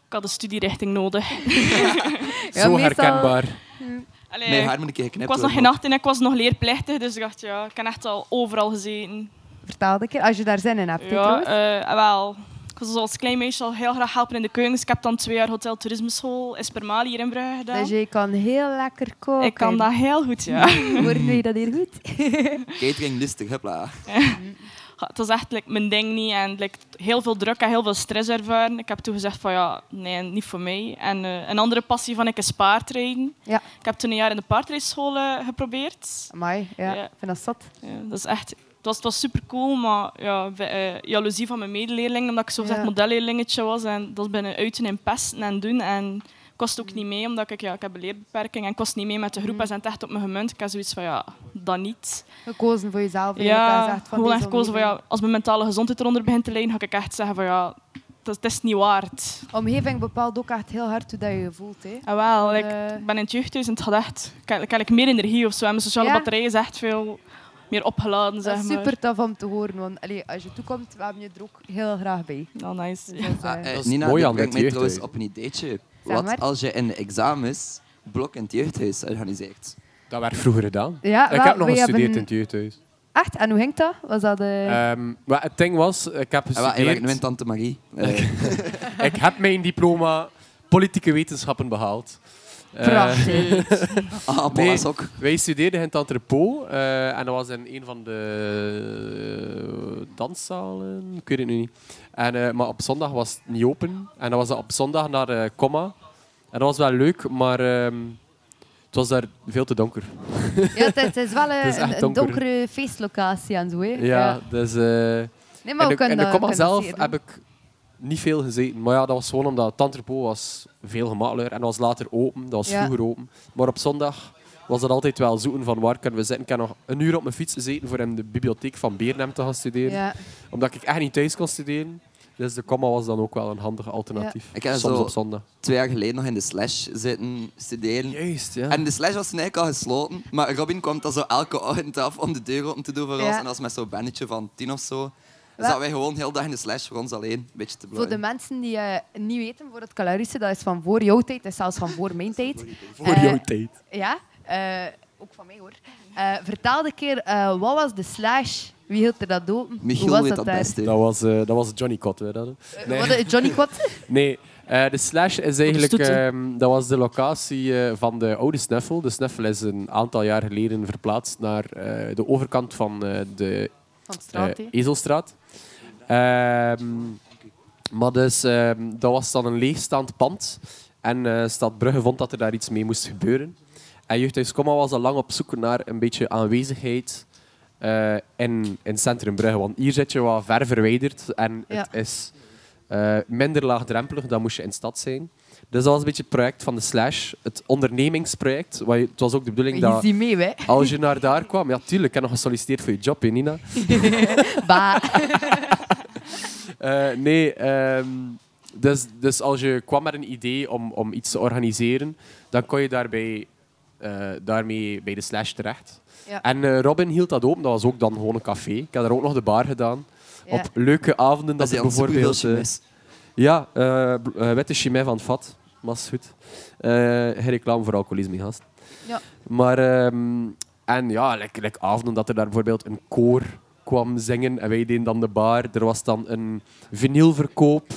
Speaker 7: Ik had een studierichting nodig.
Speaker 5: Zo
Speaker 3: meestal-
Speaker 5: herkenbaar.
Speaker 7: Allee,
Speaker 4: Mijn haar moet een keer geknipt
Speaker 7: ik was nog
Speaker 4: worden.
Speaker 7: geen acht en ik was nog leerplichtig, dus ik dacht, ja, ik heb echt al overal gezeten.
Speaker 3: Vertel een keer, als je daar zin in hebt. hè,
Speaker 7: Ja,
Speaker 3: trouwens.
Speaker 7: eh, wel. Ik was als klein meisje al heel graag helpen in de keuken. Dus ik heb dan twee jaar hotel toerismeschool Espermali hier in Brugge gedaan.
Speaker 3: Dus je kan heel lekker koken.
Speaker 7: ik kan dat heel goed, ja.
Speaker 3: Hoor je dat hier goed?
Speaker 4: Catering listig, hupla.
Speaker 7: Ja, het was echt like, mijn ding niet en like, heel veel druk en heel veel stress ervaren. Ik heb toen gezegd van ja, nee, niet voor mij. En eh, een andere passie van ik is paardrijden.
Speaker 3: Ja.
Speaker 7: Ik heb toen een jaar in de paardrijschool eh, geprobeerd.
Speaker 3: Amai, ja.
Speaker 7: Ja.
Speaker 3: Ik vind dat zat.
Speaker 7: Ja, dat is echt, het was, het was super cool, maar ja, bij, eh, jaloezie van mijn medeleerlingen, omdat ik zo gezegd
Speaker 3: Ja.
Speaker 7: modelleerlingetje was. En dat is binnen uiten en pesten en doen. En ik was ook niet mee, omdat ik, ja, ik heb een leerbeperking en ik was niet mee met de groep.
Speaker 3: Mm.
Speaker 7: En ze zijn het echt op me gemunt. Ik had zoiets van ja, dat niet.
Speaker 3: Gekozen voor jezelf.
Speaker 7: Ja,
Speaker 3: eigenlijk, en zegt van
Speaker 7: gewoon echt
Speaker 3: deze
Speaker 7: gekozen van ja, als mijn mentale gezondheid eronder begint te lijden, ga ik echt zeggen van ja, dat, dat is niet waard.
Speaker 3: Omgeving bepaalt ook echt heel hard hoe dat je je voelt. Hè.
Speaker 7: En wel,
Speaker 3: Eh.
Speaker 7: ik, ik ben in het jeugdhuis en het gaat echt, ik heb, ik heb meer energie of zo. En mijn sociale
Speaker 3: Ja.
Speaker 7: batterij is echt veel meer opgeladen,
Speaker 3: Dat
Speaker 7: zeg
Speaker 3: is
Speaker 7: maar.
Speaker 3: super tof om te horen, want allee, als je toekomt, we hebben je er ook heel graag bij.
Speaker 7: Ja, nice.
Speaker 3: Dus dat is, eh,
Speaker 4: Ah, eh,
Speaker 5: Dat is
Speaker 4: Nina,
Speaker 5: mooi
Speaker 4: dit
Speaker 5: aan
Speaker 4: brengt
Speaker 5: dit
Speaker 4: mij trouwens
Speaker 5: jeugdhuis.
Speaker 4: op een ideetje.
Speaker 3: Zeg maar.
Speaker 4: Wat als je in de examens blok in het jeugdhuis organiseert?
Speaker 5: Dat werd vroeger gedaan.
Speaker 3: Ja,
Speaker 5: ik
Speaker 3: wel,
Speaker 5: heb nog
Speaker 3: wij
Speaker 5: gestudeerd
Speaker 3: hebben-
Speaker 5: in het jeugdhuis.
Speaker 3: Echt? En hoe ging dat? Was dat eh,
Speaker 5: Ehm, maar het ding was, ik heb
Speaker 4: Ah, wel, Hij werkt nu in
Speaker 5: gestudeerd...
Speaker 4: Tante Marie. Eh,
Speaker 5: Ik heb mijn diploma politieke wetenschappen behaald. Eh,
Speaker 3: prachtig?
Speaker 4: ah,
Speaker 5: Nee.
Speaker 4: Paula's ook.
Speaker 5: Wij studeerden in het Antrepo eh, en dat was in een van de eh, danszalen, ik weet het nu niet. En, eh, maar op zondag was het niet open en dan was dat op zondag naar eh Comma. En dat was wel leuk, maar ehm, het was daar veel te donker.
Speaker 3: Ja, het, is- het is wel eh,
Speaker 5: Het is echt
Speaker 3: een, een
Speaker 5: donker.
Speaker 3: donkere feestlocatie en zo. Hè.
Speaker 5: Ja, dus eh,
Speaker 3: Nee, maar
Speaker 5: in
Speaker 3: we
Speaker 5: de, in
Speaker 3: kunnen
Speaker 5: de
Speaker 3: dat-
Speaker 5: Comma
Speaker 3: kunnen dat
Speaker 5: zelf
Speaker 3: zeer
Speaker 5: heb
Speaker 3: doen.
Speaker 5: ik niet veel gezeten. Maar ja, dat was gewoon omdat het Antrepo was veel gemakkelijker en dat was later open, dat was
Speaker 3: Ja.
Speaker 5: vroeger open. Maar op zondag was dat altijd wel zoeken van waar kunnen we zitten. Ik heb nog een uur op mijn fiets gezeten voor in de bibliotheek van Beernem te gaan studeren.
Speaker 3: Ja.
Speaker 5: Omdat ik echt niet thuis kon studeren. Dus de comma was dan ook wel een handig alternatief.
Speaker 4: Ik heb
Speaker 5: Soms
Speaker 4: zo-
Speaker 5: op zondag.
Speaker 4: Twee jaar geleden nog in de slash zitten studeren.
Speaker 5: Juist, ja.
Speaker 4: En de slash was toen eigenlijk al gesloten. Maar Robin kwam dan zo elke ochtend af om de deur open te doen voor
Speaker 3: Ja.
Speaker 4: ons. En dat was met zo'n bandetje van tien of zo. Dus
Speaker 3: Wel-
Speaker 4: dat wij gewoon heel dag in de slash voor ons alleen. Een beetje te
Speaker 3: Voor de
Speaker 4: blij.
Speaker 3: mensen die eh, niet weten, voor het Calarische, dat is van voor jouw tijd, dat is zelfs van voor mijn tijd.
Speaker 5: Voor
Speaker 3: Eh,
Speaker 5: jouw tijd.
Speaker 3: Ja, eh, ook van mij hoor. Eh, vertel een keer, eh, wat was de slash? Wie hield er dat open?
Speaker 4: Michiel
Speaker 3: Hoe was
Speaker 4: weet
Speaker 3: dat
Speaker 4: dat
Speaker 3: daar?
Speaker 4: best. hè.
Speaker 5: Dat was, eh, dat was Johnny Cott. Hè, dat, hè.
Speaker 3: Eh,
Speaker 5: Nee.
Speaker 3: wat, eh, Johnny Quat?
Speaker 5: Nee, eh, de Slash is eigenlijk...
Speaker 7: stoeten.
Speaker 5: ehm, dat was de locatie eh, van de oude Sneffel. De Sneffel is een aantal jaar geleden verplaatst naar eh, de overkant van eh, de
Speaker 3: Van de straat,
Speaker 5: eh
Speaker 3: hè?
Speaker 5: Ezelstraat. Ehm, maar dus, ehm, dat was dan een leegstaand pand. En eh Stad Brugge vond dat er daar iets mee moest gebeuren. En Jeugdhuis Comma was al lang op zoek naar een beetje aanwezigheid eh, in, in Centrum Brugge. Want hier zit je wat ver verwijderd en het is eh, minder laagdrempelig. Dan moest je in stad zijn. Dus dat was een beetje het project van de Slash. Het ondernemingsproject. Wat je- Het was ook de bedoeling
Speaker 3: Je
Speaker 5: dat
Speaker 3: ziet mee, hè?
Speaker 5: als je naar daar kwam... Ja, tuurlijk, ik heb nog gesolliciteerd voor je job, hè, Nina.
Speaker 3: Bah.
Speaker 5: Eh, nee, ehm, dus, dus als je kwam met een idee om, om iets te organiseren, dan kon je daarbij, eh, daarmee bij de slash terecht.
Speaker 3: Ja.
Speaker 5: En eh, Robin hield dat open, dat was ook dan gewoon een café. Ik heb daar ook nog de bar gedaan.
Speaker 3: Ja.
Speaker 5: Op leuke avonden, dat,
Speaker 4: Dat is
Speaker 5: er
Speaker 4: heel superveel
Speaker 5: bijvoorbeeld... eh,
Speaker 4: chimes.
Speaker 5: ja, eh, bl- eh, witte chimay van het vat. Maar is goed. Eh, geen reclame voor alcoholisme, gast.
Speaker 3: Ja.
Speaker 5: Maar, ehm, en ja, like, like avonden dat er daar bijvoorbeeld een koor kwam zingen en wij deden dan de bar. Er was dan een vinylverkoop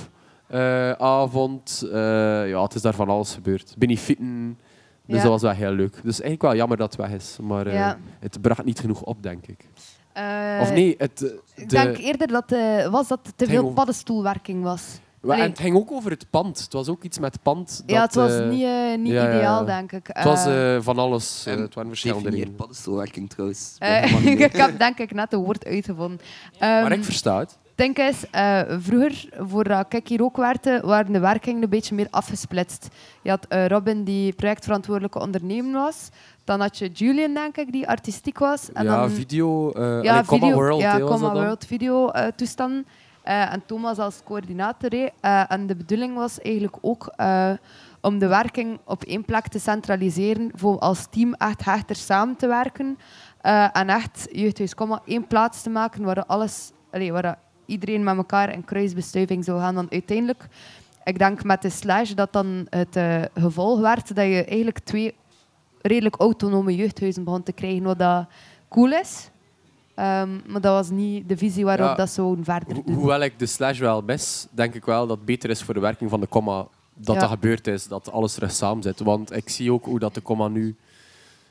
Speaker 5: eh, avond. Eh, ja, het is daar van alles gebeurd. Benefitten. Dus
Speaker 3: Ja.
Speaker 5: dat was wel heel leuk. Dus eigenlijk wel jammer dat het weg is. Maar eh,
Speaker 3: Ja.
Speaker 5: het bracht niet genoeg op, denk ik.
Speaker 3: Eh,
Speaker 5: of nee, het... eh,
Speaker 3: Ik
Speaker 5: de-
Speaker 3: denk eerder dat, eh, was dat te veel
Speaker 5: over-
Speaker 3: paddenstoelwerking was.
Speaker 5: Wa- En
Speaker 3: Allee.
Speaker 5: het ging ook over het pand. Het was ook iets met pand.
Speaker 3: ja, het
Speaker 5: dat,
Speaker 3: was
Speaker 5: eh,
Speaker 3: niet, eh, niet
Speaker 5: ja, ja, ja.
Speaker 3: ideaal, denk ik.
Speaker 5: Het was
Speaker 3: Eh,
Speaker 5: eh, van alles. eh,
Speaker 4: Ehm,
Speaker 5: het waren verschillende
Speaker 4: Definieer
Speaker 5: dingen.
Speaker 4: paddenstoelwerking trouwens.
Speaker 3: eh,
Speaker 4: Mag niet.
Speaker 3: ik heb denk ik net een woord uitgevonden.
Speaker 5: Maar
Speaker 3: Ehm,
Speaker 5: ik versta het.
Speaker 3: denk eens, eh, vroeger, voordat ik hier ook werkte, waren de werkingen een beetje meer afgesplitst. Je had eh, Robin, die projectverantwoordelijke ondernemer was. Dan had je Julian, denk ik, die artistiek was. En
Speaker 5: ja,
Speaker 3: dan,
Speaker 5: video. eh allee, Comma World.
Speaker 3: ja,
Speaker 5: hè, was
Speaker 3: Comma
Speaker 5: dat dan?
Speaker 3: World video eh, toestanden. Eh, en Thomas als coördinator. hè. Eh, en de bedoeling was eigenlijk ook eh, om de werking op één plek te centraliseren, voor als team echt hechter samen te werken. Eh, en echt Jeugdhuis Comma één plaats te maken waar alles, allee, waar iedereen met elkaar in kruisbestuiving zou gaan. Want uiteindelijk, ik denk met de slash dat dan het eh, gevolg werd dat je eigenlijk twee redelijk autonome jeugdhuizen begon te krijgen, wat dat cool is. Ehm, maar dat was niet de visie waarop
Speaker 5: Ja.
Speaker 3: dat zouden verder
Speaker 5: Ho-
Speaker 3: doen.
Speaker 5: hoewel ik de slash wel mis, denk ik wel dat het beter is voor de werking van de comma dat
Speaker 3: Ja.
Speaker 5: dat gebeurd is, dat alles terug samen zit. Want ik zie ook hoe dat de comma nu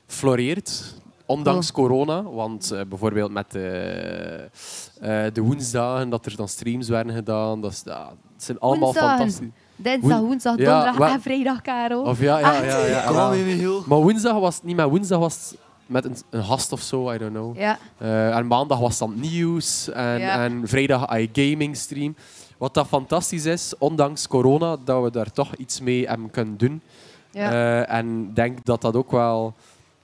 Speaker 5: floreert,
Speaker 3: Oh.
Speaker 5: ondanks corona. Want eh, bijvoorbeeld met eh, eh, de woensdagen, dat er dan streams werden gedaan, dat, is, ja, het zijn allemaal
Speaker 3: Woensdagen.
Speaker 5: fantastisch.
Speaker 3: Dinsdag,
Speaker 5: Hoe-
Speaker 3: woensdag,
Speaker 5: Ja,
Speaker 3: donderdag
Speaker 5: wa-
Speaker 3: en vrijdag, Karel.
Speaker 5: Of ja,
Speaker 3: Ah,
Speaker 5: ja, ja, ja, ja,
Speaker 4: Kom maar, Michiel.
Speaker 5: Maar woensdag was het niet meer. Woensdag was het met een, een gast of zo, I don't know.
Speaker 3: ja.
Speaker 5: Eh, en maandag was dan nieuws. En,
Speaker 3: Ja.
Speaker 5: en vrijdag iGaming stream. Wat dat fantastisch is, ondanks corona, dat we daar toch iets mee hebben kunnen doen.
Speaker 3: Ja.
Speaker 5: Eh, en ik denk dat dat ook wel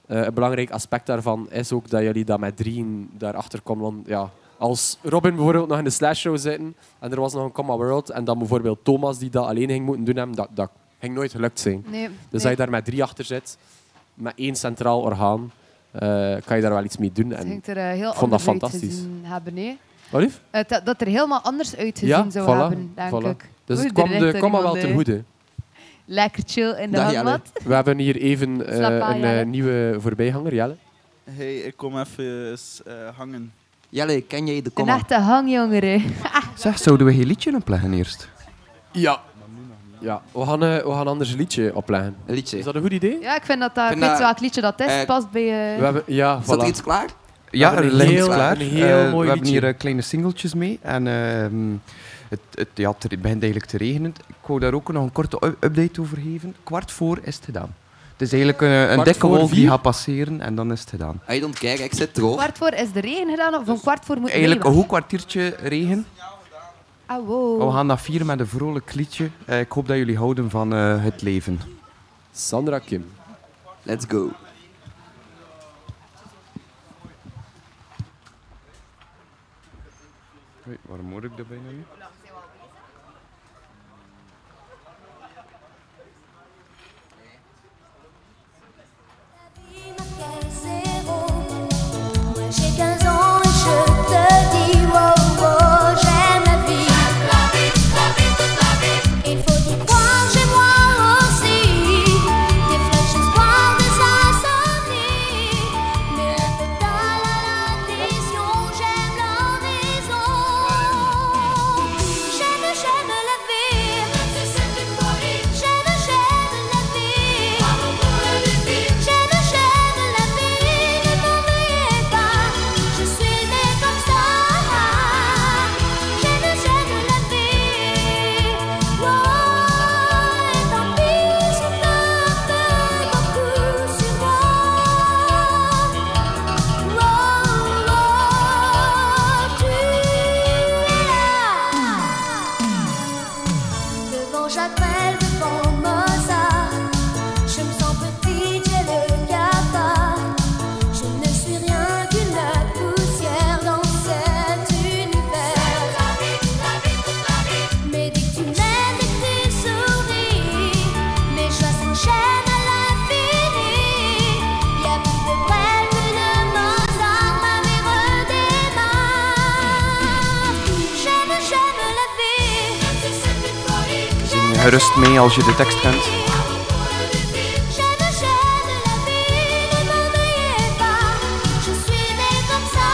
Speaker 5: eh, een belangrijk aspect daarvan is. Ook dat jullie dat met drieën daarachter komen. Want ja, als Robin bijvoorbeeld nog in de slash show zitten en er was nog een Comma World en dan bijvoorbeeld Thomas die dat alleen ging moeten doen, hebben, dat, dat ging nooit gelukt zijn.
Speaker 3: nee,
Speaker 5: Dus als
Speaker 3: nee.
Speaker 5: je daar met drie achter zit, met één centraal orgaan, eh, kan je daar wel iets mee doen.
Speaker 3: Het
Speaker 5: En...
Speaker 3: ging er eh, heel
Speaker 5: ik vond dat
Speaker 3: anders
Speaker 5: fantastisch.
Speaker 3: uitgezien hebben. hè.
Speaker 5: Wat lief?
Speaker 3: Het- eh, dat- dat er helemaal anders uitgezien
Speaker 5: Ja,
Speaker 3: zou
Speaker 5: voilà,
Speaker 3: hebben, denk
Speaker 5: voilà.
Speaker 3: ik.
Speaker 5: Dus
Speaker 3: Oei,
Speaker 5: het
Speaker 3: er
Speaker 5: kwam,
Speaker 3: ligt
Speaker 5: de,
Speaker 3: er
Speaker 5: kwam maar wel
Speaker 3: iemand,
Speaker 5: ten
Speaker 3: eh,
Speaker 5: goede.
Speaker 3: Lekker chill in de
Speaker 4: Dag, Jelle.
Speaker 3: hangmat.
Speaker 5: We hebben hier even eh,
Speaker 3: Slap aan,
Speaker 5: een
Speaker 3: Jelle.
Speaker 5: eh, nieuwe voorbijganger, Jelle.
Speaker 2: Hey, ik kom even eens, eh, hangen.
Speaker 4: Jelle, ken jij de
Speaker 3: Een
Speaker 4: comma?
Speaker 3: echte hangjongere.
Speaker 6: Zeg, zouden we geen liedje in plannen eerst?
Speaker 5: Ja. ja. We, gaan, eh, we gaan anders een liedje opleggen.
Speaker 4: Een liedje.
Speaker 5: Is dat een goed idee?
Speaker 3: Ja, ik vind dat dat,
Speaker 4: Ik
Speaker 3: ik
Speaker 4: vind
Speaker 3: weet
Speaker 4: dat-
Speaker 3: welk liedje dat is,
Speaker 4: eh,
Speaker 3: past bij... eh
Speaker 5: We hebben, ja,
Speaker 4: Staat er
Speaker 5: voilà.
Speaker 4: iets klaar?
Speaker 6: Ja,
Speaker 5: hebben
Speaker 6: er
Speaker 5: een
Speaker 6: ligt
Speaker 5: heel-
Speaker 6: iets klaar.
Speaker 5: een heel
Speaker 6: Eh, we
Speaker 5: mooi
Speaker 6: hebben hier
Speaker 5: liedje.
Speaker 6: eh, kleine singeltjes mee. En ehm, het, het, ja, het re- begint eigenlijk te regenen. Ik wou daar ook nog een korte u- update over geven. Kwart voor is het gedaan. Het is eigenlijk een, een
Speaker 5: Kwart
Speaker 6: dikke
Speaker 5: voor
Speaker 6: wolk die
Speaker 5: vier?
Speaker 6: gaat passeren en dan is het gedaan.
Speaker 4: I don't care, ik zit droog.
Speaker 3: kwart voor is de regen gedaan,
Speaker 4: Dus
Speaker 3: of een kwart voor moet
Speaker 6: Eigenlijk
Speaker 3: mee,
Speaker 6: een goed kwartiertje regen.
Speaker 3: maar- Ah, wow.
Speaker 6: Maar we gaan dat vieren met een vrolijk liedje. Eh, ik hoop dat jullie houden van eh, het leven.
Speaker 5: Sandra Kim.
Speaker 4: Let's go.
Speaker 6: waarom hoor ik dat bijna niet?
Speaker 8: J'ai 15 ans et je te dis wow wow j'aime la vie La vie, la vie, toute la vie Il faut y croire, j'ai moi aussi Des flashs espoirs, des insomnies Mais la pétale à l'addition, j'aime l'horizon J'aime, j'aime la vie C'est cette folie J'aime, j'aime la vie Bravo pour la vie J'aime, j'aime la vie Ne m'ennuie pas Je suis née comme ça ah, J'aime, j'aime la vie Oh, et tant pis Si l'on peut beaucoup sur moi Devant Jacquel, devant Mozart, je me sens petite, j'ai le cafard. Je ne suis rien qu'une poussière dans cet univers. Mais dès que tu m'aimes et que tu souris, mes joies s'enchaînent à l'infini. Y'a plus de Brel, plus de Mozart, ma vie redémarre. J'aime, j'aime la vie. J'aime,
Speaker 6: Zing gerust mee als je de tekst
Speaker 8: j'aime
Speaker 6: kent.
Speaker 8: J'aime, j'aime la vie, ne m'ennuyez pas, je suis née comme ça.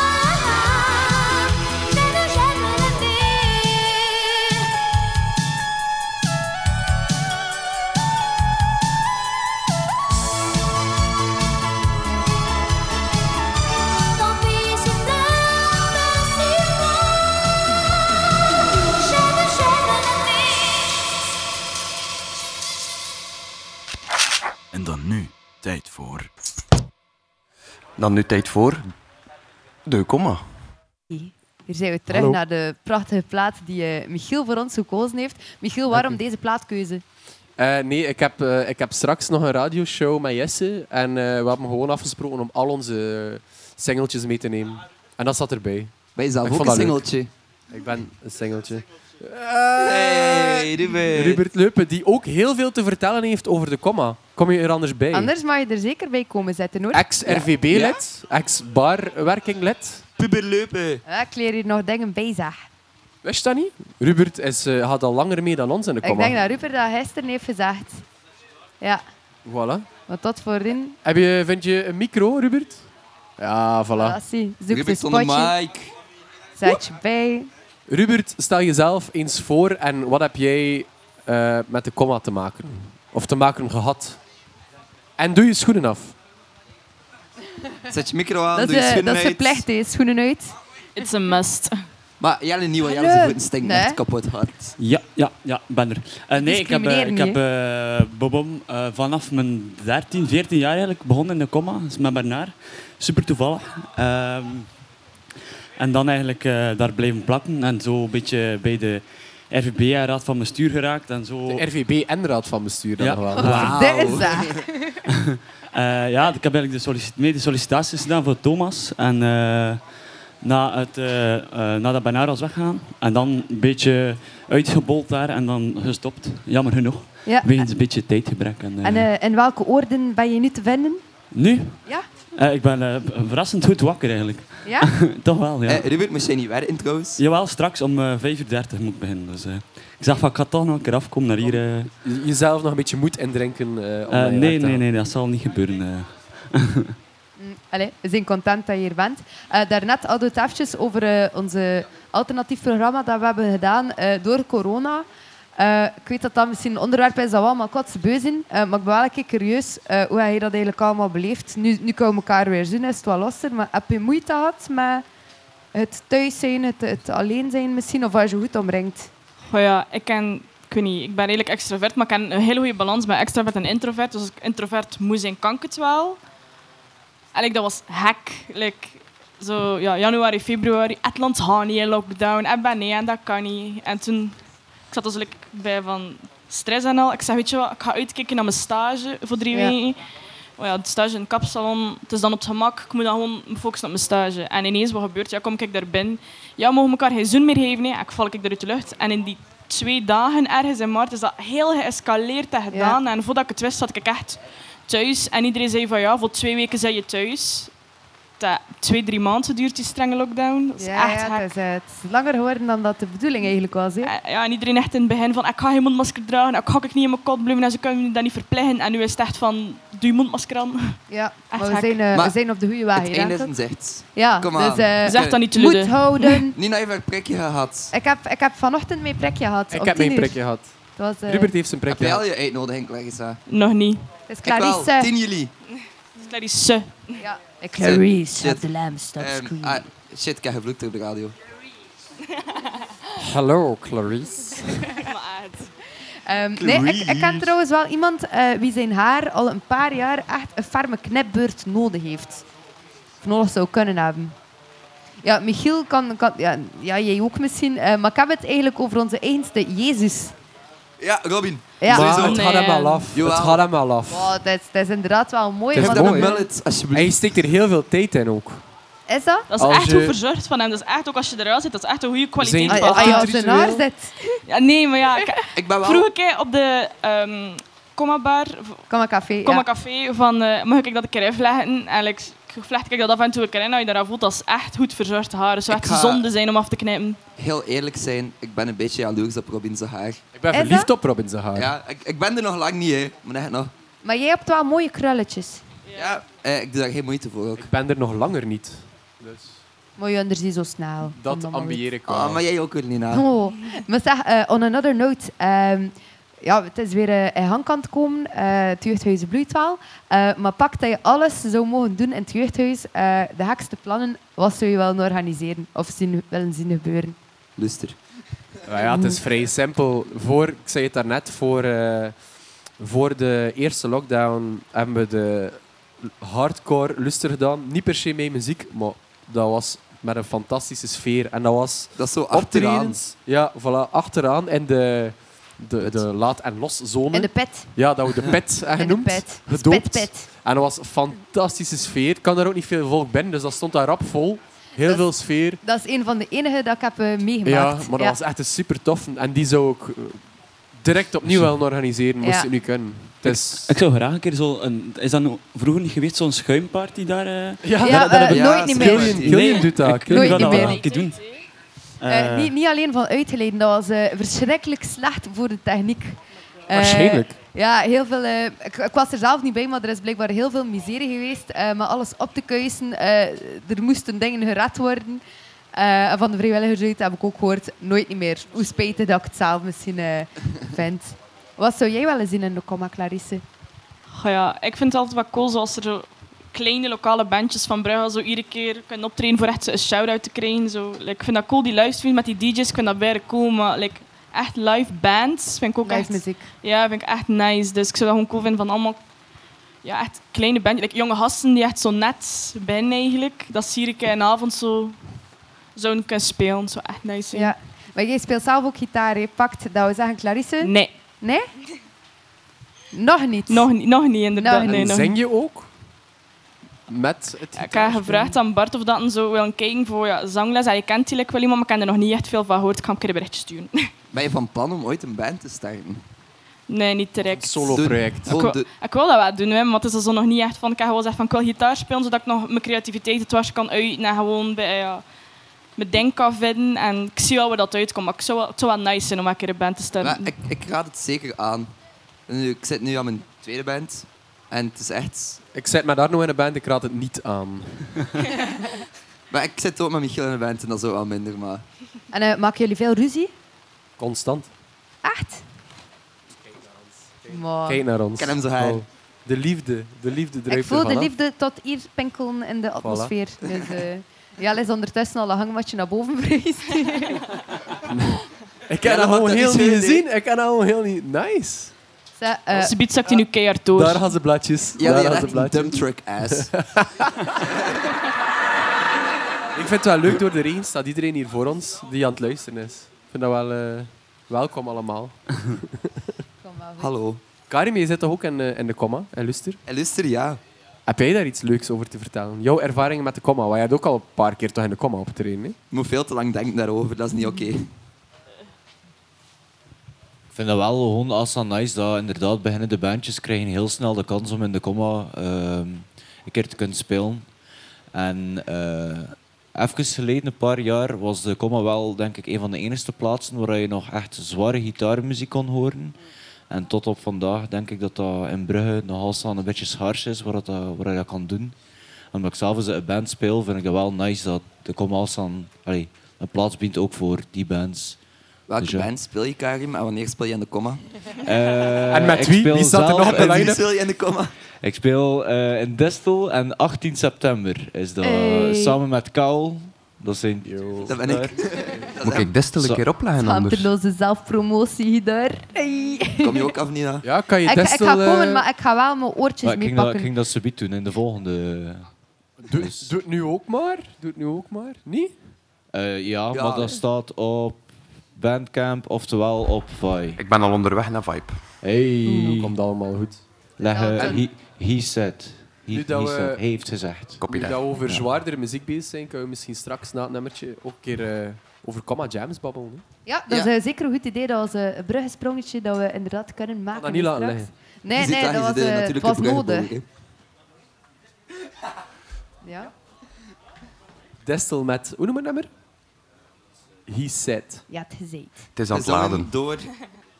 Speaker 8: J'aime, j'aime la vie. Tant pis si t'as un peu si loin. J'aime, j'aime la vie.
Speaker 9: Tijd voor.
Speaker 6: Dan nu tijd voor de komma.
Speaker 3: Hier zijn we terug
Speaker 5: Hallo.
Speaker 3: naar de prachtige plaat die eh, Michiel voor ons gekozen heeft. Michiel, waarom deze plaatkeuze?
Speaker 5: Eh, nee, ik heb, eh, ik heb straks nog een radioshow met Jesse. En eh, we hebben gewoon afgesproken om al onze singeltjes mee te nemen. En dat zat erbij.
Speaker 4: Wij
Speaker 5: Ik
Speaker 4: zelf ook
Speaker 5: vond
Speaker 4: een
Speaker 5: dat leuk.
Speaker 4: singeltje.
Speaker 5: Ik ben een singeltje.
Speaker 4: Hey,
Speaker 3: Eh,
Speaker 4: Ruben.
Speaker 5: Rupert Leupen, die ook heel veel te vertellen heeft over de comma. Kom je er anders bij?
Speaker 3: Anders mag je er zeker bij komen zitten, hoor.
Speaker 5: Ex-RVB-lid, ex-barwerking-lid.
Speaker 4: Puber Leupen.
Speaker 3: Ja, ik leer hier nog dingen bij, zeg.
Speaker 5: Wist je dat niet? Rupert is, eh, gaat al langer mee dan ons in de
Speaker 3: Ik
Speaker 5: comma.
Speaker 3: denk dat Rupert dat gisteren heeft gezegd. Ja,
Speaker 5: Voilà.
Speaker 3: want tot voorin,
Speaker 5: Heb je, vind je een micro, Rubert? Ja, voilà.
Speaker 3: voilà, zie, zoek een
Speaker 4: Rupert zonder
Speaker 3: spotje,
Speaker 4: Mike.
Speaker 3: zet je bij.
Speaker 5: Rubert, stel jezelf eens voor en wat heb jij eh, met de comma te maken? Of te maken gehad? En doe je schoenen af.
Speaker 4: Zet je micro aan,
Speaker 3: Dat
Speaker 4: doe je
Speaker 3: is, eh,
Speaker 4: schoenen
Speaker 3: dat is
Speaker 4: uit.
Speaker 3: verplicht, hè. schoenen uit.
Speaker 7: It's a must.
Speaker 4: Maar Jelle niet, want Jelle
Speaker 3: Hallo.
Speaker 4: zijn voeten stinken
Speaker 3: Nee.
Speaker 4: echt kapot hard.
Speaker 9: Ja, ja, ja, ik ben er. Eh, nee, ik heb, eh, ik
Speaker 3: Discrimineer niet,
Speaker 9: heb eh, Bobom eh, vanaf mijn 13, 14 jaar eigenlijk begonnen in de comma. Dat is met Bernard. Super toevallig. Ehm, en dan eigenlijk eh, daar blijven plakken. En zo een beetje bij de RVB en Raad van Bestuur geraakt. En zo...
Speaker 5: De RVB en Raad van Bestuur dan
Speaker 9: Oh. Ja.
Speaker 5: nog wel.
Speaker 3: Dit is dat.
Speaker 9: Eh, ja, ik heb eigenlijk de sollicit mee de sollicitaties gedaan voor Thomas. En eh, na het, eh eh nadat Bernard was weggegaan. En dan een beetje uitgebold daar en dan gestopt. Jammer genoeg.
Speaker 3: Ja.
Speaker 9: Wegens een beetje tijdgebrek. En, eh,
Speaker 3: En eh, in welke orden ben je nu te vinden?
Speaker 9: nu?
Speaker 3: Ja?
Speaker 9: Eh, ik ben eh, verrassend goed wakker eigenlijk.
Speaker 3: Ja?
Speaker 9: Toch wel, ja.
Speaker 4: Eh, Rupert, moest jij niet werken trouwens?
Speaker 9: Jawel, straks om eh, 5.30 moet ik beginnen. Dus, eh, ik zag van, ik ga toch nog een keer afkomen naar hier. eh. Eh,
Speaker 5: Jezelf nog een beetje moed indrinken. eh, om naar je
Speaker 9: nee,
Speaker 5: werk te
Speaker 9: nee,
Speaker 5: gaan.
Speaker 9: nee, dat zal niet gebeuren. eh.
Speaker 3: Allee, we zijn content dat je hier bent. Eh, daarnet hadden we het eventjes over eh, onze alternatief programma dat we hebben gedaan eh, door corona. Eh, ik weet dat dat misschien een onderwerp is dat we allemaal kotsbeu zijn, eh, maar ik ben wel een keer curieus eh, hoe heb je dat eigenlijk allemaal beleefd? Nu, nu kunnen we elkaar weer zien, is het wel losser, maar heb je moeite gehad met het thuis zijn, het, het alleen zijn misschien, of als je goed omringt?
Speaker 7: Goh ja, ik ken... Ik weet niet, ik ben redelijk extravert, maar ik ken een hele goede balans met extravert en introvert. Dus als ik introvert moest zijn, kan ik het wel. En like, dat was hek. Like, zo, ja, januari, februari, Atlant gaat niet in lockdown. En ben nee, en dat kan niet. En toen, ik zat dus like, bij van stress en al. Ik zei, weet je wat, ik ga uitkijken naar mijn stage voor drie
Speaker 3: Ja.
Speaker 7: weken. Oh ja, de stage in het kapsalon, het is dan op het gemak. Ik moet dan gewoon me focussen op mijn stage. En ineens, wat gebeurt? Ja, kom ik daar binnen. Ja, mogen we elkaar geen zoen meer geven? Nee, En ik val ik eruit de lucht. En in die twee dagen ergens in maart is dat heel geëscaleerd en gedaan. En voordat ik het wist, zat ik echt thuis. En iedereen zei van ja, voor twee weken zijn je thuis. Dat twee, drie maanden duurt die strenge lockdown. Dat is echt
Speaker 3: ja,
Speaker 7: hek.
Speaker 3: het, is, eh, het is langer geworden dan dat de bedoeling eigenlijk was. Hè?
Speaker 7: Eh, Ja, en iedereen echt in het begin van ik ga geen mondmasker dragen, ik ga ook niet in mijn kot blijven en ze kunnen me dat niet verplichten. En nu is het echt van doe je mondmasker aan.
Speaker 3: Ja,
Speaker 7: Echt
Speaker 3: maar we
Speaker 7: hek.
Speaker 3: zijn, eh, we
Speaker 4: Maar
Speaker 3: zijn op de goede weg.
Speaker 4: het
Speaker 3: hier, hè,
Speaker 4: einde is
Speaker 3: toch?
Speaker 4: een zicht.
Speaker 3: Ja,
Speaker 4: Kom
Speaker 3: dus
Speaker 4: aan.
Speaker 3: eh,
Speaker 4: Dus
Speaker 7: Zeg dat niet te
Speaker 3: moed
Speaker 7: luiden.
Speaker 3: houden.
Speaker 4: Niet dat je een prikje gehad.
Speaker 3: Ik heb, ik heb vanochtend mijn prikje gehad.
Speaker 5: Ik
Speaker 3: om
Speaker 5: heb
Speaker 3: tien
Speaker 5: mijn
Speaker 3: uur.
Speaker 5: prikje gehad.
Speaker 3: Het was, eh,
Speaker 5: Rupert heeft zijn
Speaker 4: Heb
Speaker 5: prikje
Speaker 4: jij al
Speaker 5: gehad.
Speaker 4: je uitnodiging, Clarissa?
Speaker 7: Nog niet.
Speaker 3: het is
Speaker 4: Ik wel,
Speaker 3: Clarisse.
Speaker 4: 10 juli.
Speaker 7: Clarisse.
Speaker 3: ja, ik
Speaker 4: Clarice,
Speaker 3: heb
Speaker 4: have the
Speaker 3: lamp, stop
Speaker 4: Ehm, ah, shit, ik heb gevloekt op de radio.
Speaker 5: Hallo, Clarice.
Speaker 3: Ehm, nee, ik, ik ken trouwens wel iemand eh, wie zijn haar al een paar jaar echt een ferme knipbeurt nodig heeft. Of nodig zou kunnen hebben. Ja, Michiel kan... kan ja, ja, jij ook misschien. eh, maar ik heb het eigenlijk over onze eigenste Jezus.
Speaker 4: Ja, Robin.
Speaker 3: Ja.
Speaker 5: maar
Speaker 4: Sowieso.
Speaker 5: het gaat hem al af.
Speaker 4: Jawel.
Speaker 5: Het gaat hem al af.
Speaker 3: Wow, dat, is, dat is inderdaad wel mooi.
Speaker 5: Het
Speaker 4: Geef
Speaker 5: is
Speaker 3: want-
Speaker 4: hem een
Speaker 5: mooi, hè?
Speaker 4: mullet,
Speaker 5: En
Speaker 4: alsjeblieft.
Speaker 5: je steekt er heel veel tijd in ook.
Speaker 3: is dat?
Speaker 7: Dat is
Speaker 5: Als
Speaker 7: echt
Speaker 5: je-
Speaker 7: goed verzorgd van hem. Dat is echt, ook als je eruit zit, dat is echt een goede kwaliteit.
Speaker 5: Zijn-
Speaker 3: Ah,
Speaker 7: van
Speaker 3: ja,
Speaker 5: Als
Speaker 3: als
Speaker 5: je
Speaker 3: je
Speaker 7: haar.
Speaker 3: op zijn haar zit,
Speaker 7: Ja, nee, maar ja, ik,
Speaker 4: Ik ben wel...
Speaker 7: vroeg een keer op de ehm Comma Bar, v-
Speaker 3: kom maar café.
Speaker 7: Comma
Speaker 3: ja.
Speaker 7: Café, van eh, mag ik dat een keer invleggen? En like, ik vlecht ik dat af en toe een keer in, dat je daar voelt, dat is echt goed verzorgd haar. Het zou
Speaker 4: Ik
Speaker 7: echt
Speaker 4: ga-
Speaker 7: zonde zijn om af te knippen.
Speaker 4: Heel eerlijk zijn, ik ben een beetje jaloers op Robin zijn haar.
Speaker 5: Ik ben
Speaker 3: Is
Speaker 5: verliefd
Speaker 3: dat?
Speaker 5: op Robin zijn haar.
Speaker 4: Ja, ik, ik ben er nog lang niet, hè. Maar echt nog.
Speaker 3: Maar jij hebt wel mooie krulletjes.
Speaker 4: Ja, eh, ik doe daar geen moeite voor ook.
Speaker 5: Ik ben er nog langer niet. Dus
Speaker 3: Maar je onder zie zo snel.
Speaker 5: dat
Speaker 3: Kom dan maar
Speaker 5: ambieer ik wel.
Speaker 4: Ah, maar jij ook weer, Lina.
Speaker 3: weer. Oh. Maar zeg, eh, on another note. ehm, ja, het is weer eh in gang aan het komen. eh het jeugdhuis bloeit wel. Eh, maar pak dat je alles zou mogen doen in het jeugdhuis. eh, de gekste plannen, wat zou je willen organiseren? Of zien, willen zien gebeuren?
Speaker 4: Luister.
Speaker 5: Ah Ja, ja, het is vrij simpel. Voor, ik zei het daarnet, voor, eh, Voor de eerste lockdown hebben we de hardcore luster gedaan. Niet per se mee muziek, maar dat was met een fantastische sfeer. En dat was
Speaker 4: Dat is zo achteraan.
Speaker 5: optredens. Ja, voilà, achteraan in de, de, de laat- en loszone.
Speaker 3: En de pet.
Speaker 5: Ja, dat we de pet eh,
Speaker 3: En de
Speaker 5: genoemd.
Speaker 3: pet. Het is
Speaker 5: Gedoopt.
Speaker 3: Pet, pet.
Speaker 5: En dat was een fantastische sfeer. Ik kan daar ook niet veel volk binnen, dus dat stond daar rap vol. Heel
Speaker 3: Dat-
Speaker 5: veel sfeer.
Speaker 3: Dat is een van de enige dat ik heb eh,
Speaker 5: Ja,
Speaker 3: meegemaakt.
Speaker 5: maar dat was echt een super tof. En die zou ik eh, direct opnieuw willen organiseren, moest
Speaker 3: Ja.
Speaker 5: het nu kunnen. Het is...
Speaker 9: Ik zou graag een keer zo een... Is dat nou vroeger niet geweest, zo'n schuimparty daar? eh?
Speaker 5: Ja,
Speaker 3: Ja,
Speaker 9: dat- dat
Speaker 3: eh,
Speaker 9: heb ik-
Speaker 3: nooit niet meer.
Speaker 5: Killian, Killian doet dat.
Speaker 9: ik- ik
Speaker 3: Nooit
Speaker 9: ga
Speaker 3: niet
Speaker 9: dat
Speaker 3: meer.
Speaker 9: wel een keer doen.
Speaker 3: Eh,
Speaker 9: Eh,
Speaker 3: niet, niet alleen van uitgeleden, dat was eh, verschrikkelijk slecht voor de techniek. Eh,
Speaker 5: Waarschijnlijk.
Speaker 3: ja, heel veel. eh, ik, ik was er zelf niet bij, maar er is blijkbaar heel veel miserie geweest. eh maar alles op te kuisen. eh, er moesten dingen gered worden. Eh, en van de vrijwilligersruit heb ik ook gehoord, nooit niet meer. Hoe spijtig dat ik het zelf misschien eh, vind. Wat zou jij wel eens zien in de comma, Clarisse?
Speaker 7: Goh ja, ik vind het altijd wat cool zoals er zo kleine lokale bandjes van Brugge zo iedere keer kunnen optreden voor echt zo een shout-out te krijgen. Zo. Like, ik vind dat cool, die livestream met die DJ's, ik vind dat bijna cool, maar like, echt live bands vind ik ook echt,
Speaker 3: Live muziek.
Speaker 7: ja, vind ik echt nice. Dus ik zou dat gewoon cool vinden van allemaal ja, echt kleine bandjes, like, jonge gasten die echt zo net ben eigenlijk. Dat zie ik eh, een avond zo zo'n kunnen spelen, zo echt nice zijn.
Speaker 3: Ja. Maar jij speelt zelf ook gitaar. Je pakt, dat we zeggen, Clarisse?
Speaker 7: Nee,
Speaker 3: Nee? Nog niet.
Speaker 7: nog, niet- nog niet inderdaad.
Speaker 3: Nog
Speaker 7: nee,
Speaker 5: En
Speaker 7: nog
Speaker 5: zing je ook? Met het
Speaker 7: Ja, Ik heb
Speaker 5: gitaarspelen?
Speaker 7: gevraagd aan Bart of dat hij zo wil kijken voor ja, zangles. Hij kent die like wel iemand, maar ik heb er nog niet echt veel van gehoord. Ik ga hem een keer een berichtje sturen.
Speaker 4: Ben je van plan om ooit een band te starten?
Speaker 7: nee, niet direct.
Speaker 5: Solo-project.
Speaker 4: Gewoon
Speaker 7: Ik wil,
Speaker 4: de-
Speaker 7: ik wil dat wel doen, hè, maar het is er zo nog niet echt van. Ik heb gewoon gezegd van ik wil gitaar spelen, zodat ik nog mijn creativiteit het was kan uiten en gewoon bij, ja, mijn denk kan vinden. En ik zie wel waar dat uitkomt, maar ik zou wel, het zou wel nice zijn om een keer een band te
Speaker 3: Ehm,
Speaker 7: starten.
Speaker 4: Maar ik, ik raad het zeker aan. Nu, ik zit nu aan mijn tweede band. En het is echt...
Speaker 5: Ik zet met Arno in een band, ik raad het niet aan.
Speaker 4: Maar ik zit ook met Michiel in een band en dat is ook wel minder. Maar
Speaker 3: En eh, maken jullie veel ruzie?
Speaker 5: Constant.
Speaker 3: Echt?
Speaker 5: Kijk
Speaker 3: Maar
Speaker 5: naar ons.
Speaker 4: ik ken hem zo haar.
Speaker 5: Oh, de liefde. De liefde druipt
Speaker 3: Oh. ik voel de
Speaker 5: ervan af.
Speaker 3: liefde tot hier pinkelen in de atmosfeer. Dus, eh, ja, is ondertussen al een hangmatje naar boven geweest.
Speaker 5: Ik
Speaker 4: Ja,
Speaker 5: heb
Speaker 4: dat
Speaker 5: dat gewoon
Speaker 4: had- dat
Speaker 5: heel
Speaker 4: is
Speaker 5: niet
Speaker 4: geen idee.
Speaker 5: gezien. Ik heb dat gewoon heel niet... Nice.
Speaker 3: Ze, eh,
Speaker 7: Ze biedt zakt hij nu keihard door.
Speaker 5: Daar gaan ze bladjes.
Speaker 4: Ja,
Speaker 5: Daar
Speaker 4: die had
Speaker 5: gaan ze
Speaker 4: echt een
Speaker 5: bladjes.
Speaker 4: dump truck ass.
Speaker 5: Ik vind het wel leuk door de regen staat iedereen hier voor ons die aan het luisteren is. Ik vind dat wel... eh, welkom allemaal.
Speaker 3: kom maar voor.
Speaker 4: Hallo.
Speaker 5: Karim, je zit toch ook in, eh, in de comma, en Luster?
Speaker 4: En luister, ja.
Speaker 5: Heb jij daar iets leuks over te vertellen? Jouw ervaringen met de comma, want jij hebt ook al een paar keer toch in de comma opgetreden, hè?
Speaker 4: Ik moet veel te lang denken daarover, dat is niet oké.
Speaker 10: Ik vind dat wel gewoon als dat nice dat inderdaad beginnende bandjes krijgen heel snel de kans om in de comma ehm, een keer te kunnen spelen. En eh even geleden, een paar jaar, was de comma wel denk ik een van de enige plaatsen waar je nog echt zware gitaarmuziek kon horen. En tot op vandaag denk ik dat dat in Brugge nogal staan een beetje schaars is waar, dat, waar je dat kan doen. Omdat ik zelf eens een band speel, vind ik dat wel nice dat de comma alstaan, allee, een plaats biedt ook voor die bands.
Speaker 4: Welke
Speaker 10: Dus ja.
Speaker 4: band speel je, Karim? En wanneer speel je in de comma?
Speaker 10: Eh,
Speaker 5: En met
Speaker 10: ik
Speaker 5: wie?
Speaker 10: speel
Speaker 5: Wie staat er
Speaker 10: zelf
Speaker 5: nog op
Speaker 10: in-
Speaker 5: de line-up?
Speaker 4: Wanneer speel je in de comma?
Speaker 10: Ik speel eh, in Distel en 18 september is dat.
Speaker 3: Hey.
Speaker 10: Samen met Kaul. Dat zijn...
Speaker 4: Dat ben ik. Dat is
Speaker 6: Moet ik Destel een
Speaker 10: Zo.
Speaker 6: keer opleggen anders?
Speaker 3: Schaamteloze zelfpromotie daar. Hey.
Speaker 4: hem. Kom je ook af, Nina?
Speaker 5: Ja, kan je
Speaker 3: Ik, ik
Speaker 5: Destel...
Speaker 3: ga komen,
Speaker 5: eh,
Speaker 3: maar ik ga wel mijn
Speaker 10: Maar
Speaker 3: oortjes
Speaker 10: ik ging, dat, ik
Speaker 3: meepakken.
Speaker 10: ging dat subiet doen in de volgende.
Speaker 5: Doe,
Speaker 10: Dus-
Speaker 5: doe het nu ook maar. Doe het nu ook maar. Niet?
Speaker 10: Eh, ja,
Speaker 4: Ja,
Speaker 10: maar dat
Speaker 4: hè.
Speaker 10: staat op Bandcamp, oftewel op Vi.
Speaker 6: Ik ben al onderweg naar Vibe.
Speaker 10: Hey,
Speaker 5: Dan komt allemaal goed.
Speaker 10: leg
Speaker 3: Ja,
Speaker 10: eh,
Speaker 3: en-
Speaker 10: he, he said. He,
Speaker 5: Nu dat
Speaker 10: he
Speaker 5: we-
Speaker 10: said. Hij heeft gezegd.
Speaker 6: Copy
Speaker 5: Nu dat
Speaker 6: daar.
Speaker 5: we over
Speaker 10: Ja.
Speaker 5: zwaardere muziek bezig zijn, kunnen we misschien straks na het nummertje ook een keer eh, over comma jams babbelen. hè?
Speaker 3: Ja, dat is
Speaker 4: Ja.
Speaker 3: eh, zeker een goed idee. Dat was eh, een bruggensprongetje dat we inderdaad kunnen maken.
Speaker 5: dat niet laten
Speaker 3: straks.
Speaker 5: liggen.
Speaker 3: Nee,
Speaker 4: Je ziet
Speaker 3: nee, dat
Speaker 4: je
Speaker 3: was,
Speaker 4: ziet de
Speaker 3: eh, het
Speaker 4: natuurlijke
Speaker 3: was
Speaker 4: bruggenbouw,
Speaker 3: nodig.
Speaker 4: hè.
Speaker 3: Ja.
Speaker 5: Destel met... Hoe noem je het nummer? He said.
Speaker 3: Ja, het gezeten.
Speaker 6: Het is aan het
Speaker 4: Gezongen
Speaker 6: laden.
Speaker 4: door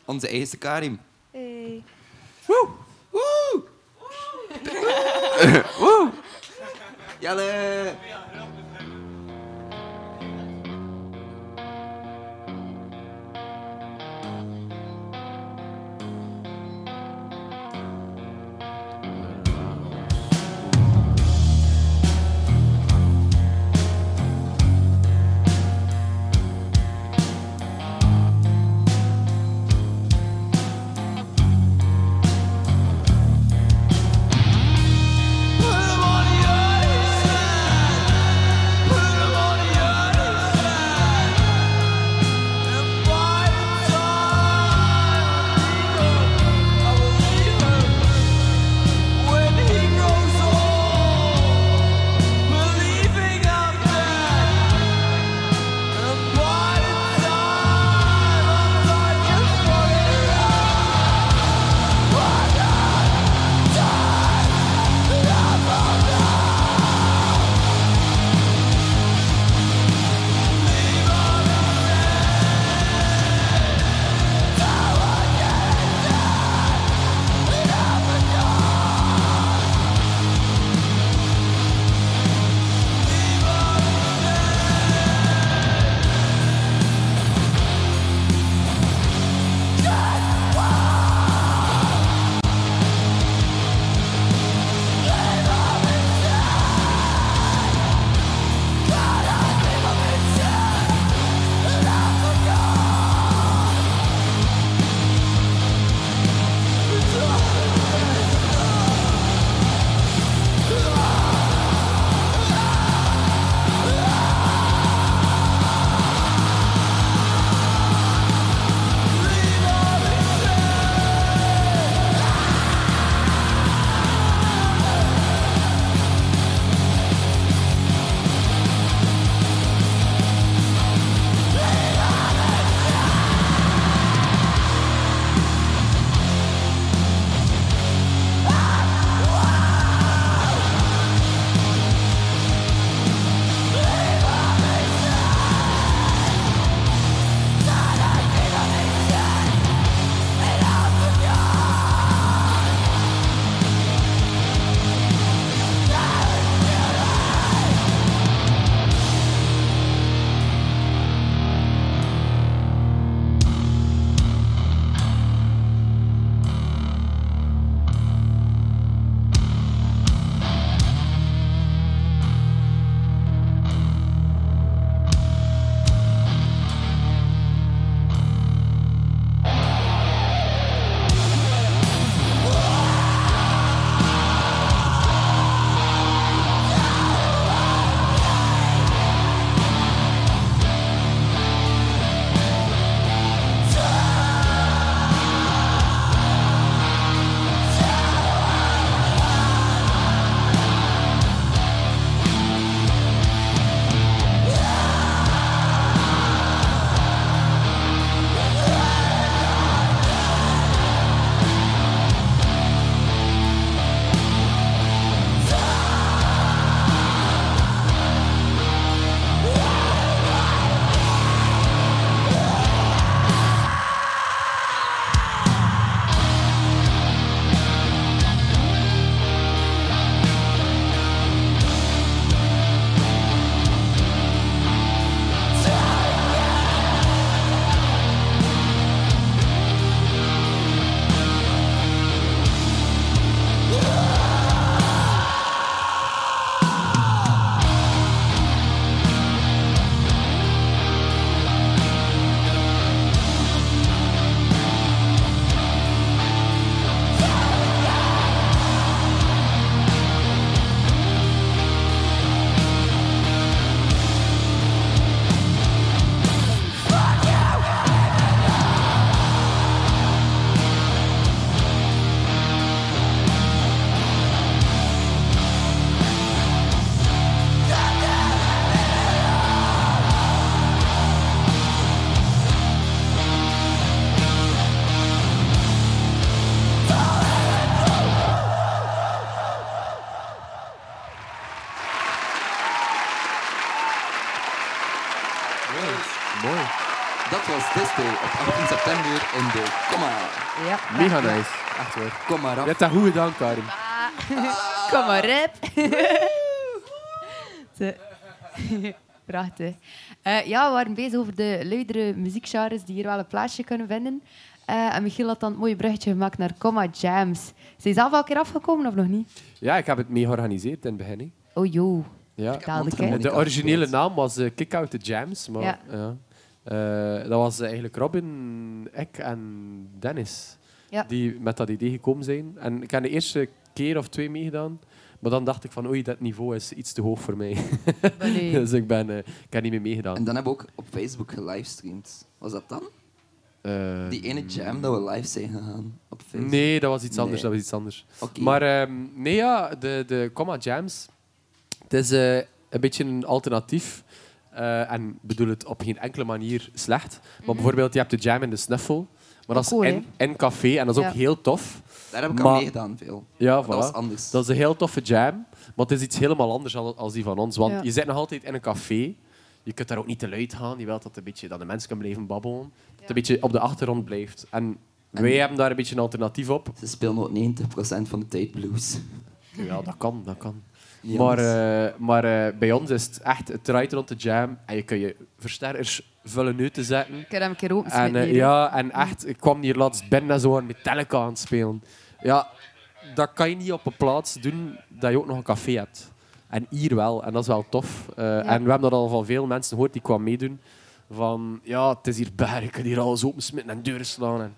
Speaker 4: onze eigen Karim.
Speaker 3: Hey.
Speaker 4: Jelle!
Speaker 8: Thank
Speaker 4: Mother's Day op 18 september in de Comma.
Speaker 3: Ja.
Speaker 5: Mega nice. Echt waar.
Speaker 4: Kom maar
Speaker 5: Je
Speaker 4: af.
Speaker 5: hebt dat goed gedaan, Karin.
Speaker 3: Kom maar, rap. Zo. Prachtig. Eh, ja, we waren bezig over de luidere muziekgenres die hier wel een plaatsje kunnen vinden. Eh, en Michiel had dan het mooie bruggetje gemaakt naar Comma Jams. Zijn je zelf al een keer afgekomen of nog niet?
Speaker 5: Ja, ik heb het mee georganiseerd in het begin. hè.
Speaker 3: Oh joh,
Speaker 5: Ja.
Speaker 3: dadelijk
Speaker 4: mondharmonie.
Speaker 3: hè.
Speaker 5: De originele naam was eh, Kick Out the Jams. Maar,
Speaker 3: Ja.
Speaker 5: ja. Eh, dat was eh, eigenlijk Robin, ik en Dennis
Speaker 3: Ja.
Speaker 5: die met dat idee gekomen zijn. En ik heb de eerste keer of twee meegedaan. Maar dan dacht ik van, oei, dat niveau is iets te hoog voor mij.
Speaker 3: Maar nee.
Speaker 5: dus ik, ben, eh, ik heb niet meer
Speaker 4: En
Speaker 5: meegedaan.
Speaker 4: dan hebben we ook op Facebook gelivestreamd. Was dat dan?
Speaker 5: Eh,
Speaker 4: Die ene jam dat we live zijn gegaan op Facebook?
Speaker 5: nee, dat was iets
Speaker 4: Nee.
Speaker 5: anders. Dat was iets anders.
Speaker 4: Oké.
Speaker 5: Maar ehm, nee, ja, de, de Comma Jams. Het is eh, een beetje een alternatief. eh, en bedoel het op geen enkele manier slecht. Maar bijvoorbeeld, je hebt de Jam en de Snuffle. Maar dat is
Speaker 3: Mhm. Oh, cool,
Speaker 5: in, in café en dat is ook
Speaker 3: Ja.
Speaker 5: heel tof.
Speaker 4: Daar heb ik
Speaker 5: Maar-
Speaker 4: aan meegedaan veel.
Speaker 5: Ja,
Speaker 4: Maar Dat was
Speaker 5: voilà.
Speaker 4: anders.
Speaker 5: Dat is een heel toffe jam. Maar het is iets helemaal anders dan als die van ons. Want
Speaker 3: Ja.
Speaker 5: je zit nog altijd in een café. Je kunt daar ook niet te luid gaan. Je wilt dat, een beetje, dat de mensen kunnen blijven babbelen. Dat het een beetje op de achtergrond blijft. En wij hebben daar een beetje een alternatief op.
Speaker 4: Ze spelen ook 90% van de tijd blues.
Speaker 5: Ja, dat kan, dat kan.
Speaker 4: Niet
Speaker 5: maar
Speaker 4: anders.
Speaker 5: eh, maar eh, bij ons is het echt, het draait rond de jam en je kun je versterkers vullen nu te zetten.
Speaker 3: Ik heb hem een keer open
Speaker 5: En, eh, ja, en echt, ik kwam hier laatst binnen en zo aan Metallica aan het spelen. Ja, dat kan je niet op een plaats doen dat je ook nog een café hebt. En hier wel, en dat is wel tof. Eh, En we hebben dat al van veel mensen gehoord die kwamen meedoen. Van, ja, het is hier berg, je kunt hier alles opensmitten en deuren slaan. En,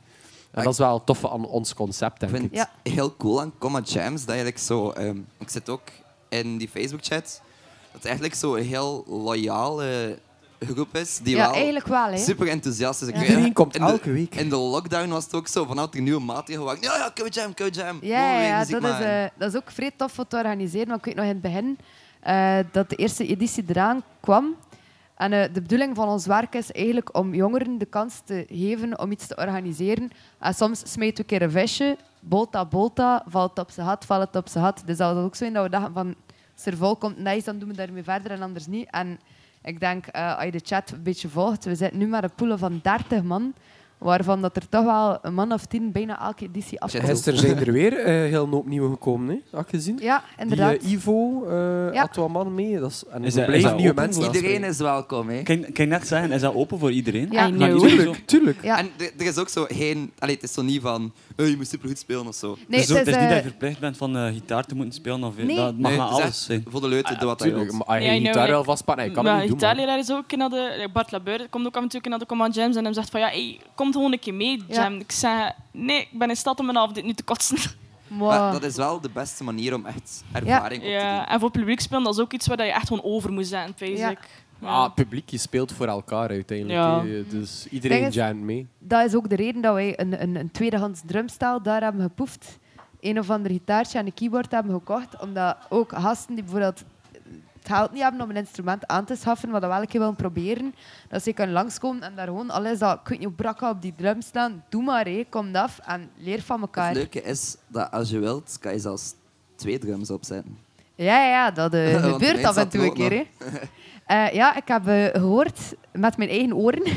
Speaker 5: en dat is wel tof aan ons concept,
Speaker 4: Ik
Speaker 5: denk
Speaker 4: vind
Speaker 5: ik.
Speaker 4: het heel cool aan Comma Jams dat eigenlijk zo... ehm, ik zit ook in die Facebook-chat. Dat het eigenlijk zo een heel loyale groep is. Die
Speaker 3: Ja,
Speaker 4: wel
Speaker 3: eigenlijk wel hè.
Speaker 4: super enthousiast is. Ik weet-
Speaker 5: Iedereen komt
Speaker 4: in de-
Speaker 5: elke week.
Speaker 4: In de lockdown was het ook zo van nou, had er nieuwe maatregelen waren. Ja, ja, go jam, go jam.
Speaker 3: Ja, ja,
Speaker 4: Mooi,
Speaker 3: ja,
Speaker 4: muziek
Speaker 3: dat, is,
Speaker 4: maken.
Speaker 3: eh, dat is ook vrij tof om te organiseren. Want ik weet nog in het begin eh, dat de eerste editie eraan kwam. En eh, de bedoeling van ons werk is eigenlijk om jongeren de kans te geven om iets te organiseren. En soms smijt we een keer een visje. Bolta, bolta, valt op zijn hat, valt het op zijn hat. Dus dat was ook zo in dat we dachten van... Als er vol komt, nice, dan doen we daarmee verder en anders niet. En ik denk, eh, als je de chat een beetje volgt... We zitten nu maar een poelen van 30 man. Waarvan dat er toch wel een man of tien bijna elke editie afkomt.
Speaker 5: Gisteren zijn er weer eh, heel een hoop nieuwe gekomen, hè? had je gezien?
Speaker 3: Ja, inderdaad.
Speaker 5: Die eh, Ivo eh
Speaker 3: Ja.
Speaker 5: had wel mannen mee. Dat is, en
Speaker 9: Is
Speaker 5: er
Speaker 9: dat- is
Speaker 5: blijven
Speaker 9: dat
Speaker 5: nieuwe
Speaker 9: open
Speaker 5: mensen
Speaker 9: voor-
Speaker 4: Iedereen is welkom, hè.
Speaker 9: Kan, kan je net zeggen, is dat open voor iedereen?
Speaker 3: Ja.
Speaker 7: I
Speaker 9: Maar
Speaker 7: know.
Speaker 9: iedereen zo-
Speaker 5: Tuurlijk, tuurlijk.
Speaker 3: Ja.
Speaker 4: En er, er is ook zo geen... Allee, het is zo niet van... Hey, je moet supergoed spelen of zo.
Speaker 3: Nee,
Speaker 9: dus zo- het is
Speaker 3: eh,
Speaker 9: niet dat je verplicht bent van eh, gitaar te moeten spelen. Of,
Speaker 3: Nee.
Speaker 9: Dat mag
Speaker 4: Nee,
Speaker 9: maar
Speaker 4: het is
Speaker 9: alles
Speaker 4: echt
Speaker 9: zijn.
Speaker 4: Voor de leuten, doe wat hij
Speaker 5: Ah, Tuurlijk,
Speaker 4: wil.
Speaker 5: maar als
Speaker 7: Ja,
Speaker 5: je
Speaker 7: I
Speaker 5: je
Speaker 7: know,
Speaker 5: gitaar
Speaker 7: like-
Speaker 5: wel vastpakt, nee, je kan
Speaker 7: Maar
Speaker 5: het niet doen. man.
Speaker 7: gitaarleraar is ook naar de... Bart Labeur komt ook af en toe naar de Command Jams en hem zegt van ja, hey, kom gewoon een keer mee,
Speaker 3: Ja.
Speaker 7: Jam. Ik zei, nee, ik ben in staat om mijn avond nu te kotsen.
Speaker 3: mwah.
Speaker 4: Maar dat is wel de beste manier om echt ervaring op te doen.
Speaker 7: Ja, en voor publiek spelen, dat is ook iets waar je echt gewoon over moet zijn, basic. Ja.
Speaker 5: Ah, het publiek je speelt voor elkaar uiteindelijk.
Speaker 7: Ja.
Speaker 5: hè. Dus
Speaker 3: Denk
Speaker 5: iedereen
Speaker 3: het-
Speaker 5: jamt mee.
Speaker 3: dat is ook de reden dat wij een, een, een tweedehands drumstijl daar hebben gepoeft. Een of ander gitaartje en een keyboard hebben gekocht. Omdat ook gasten die bijvoorbeeld het geld niet hebben om een instrument aan te schaffen, maar dat wel een keer willen proberen, dat ze kunnen langskomen en daar gewoon alles dat, ik weet niet hoe brak op die drum staan, doe maar, hé, kom af en leer van
Speaker 4: Het
Speaker 3: elkaar.
Speaker 4: leuke is dat als je wilt, kan je zelfs twee drums opzetten.
Speaker 3: Ja, ja, dat eh,
Speaker 4: Want
Speaker 3: gebeurt
Speaker 4: ineens
Speaker 3: af en
Speaker 4: zat
Speaker 3: toe een
Speaker 4: er ook
Speaker 3: keer. hè. Eh, ja, ik heb eh, gehoord met mijn eigen oren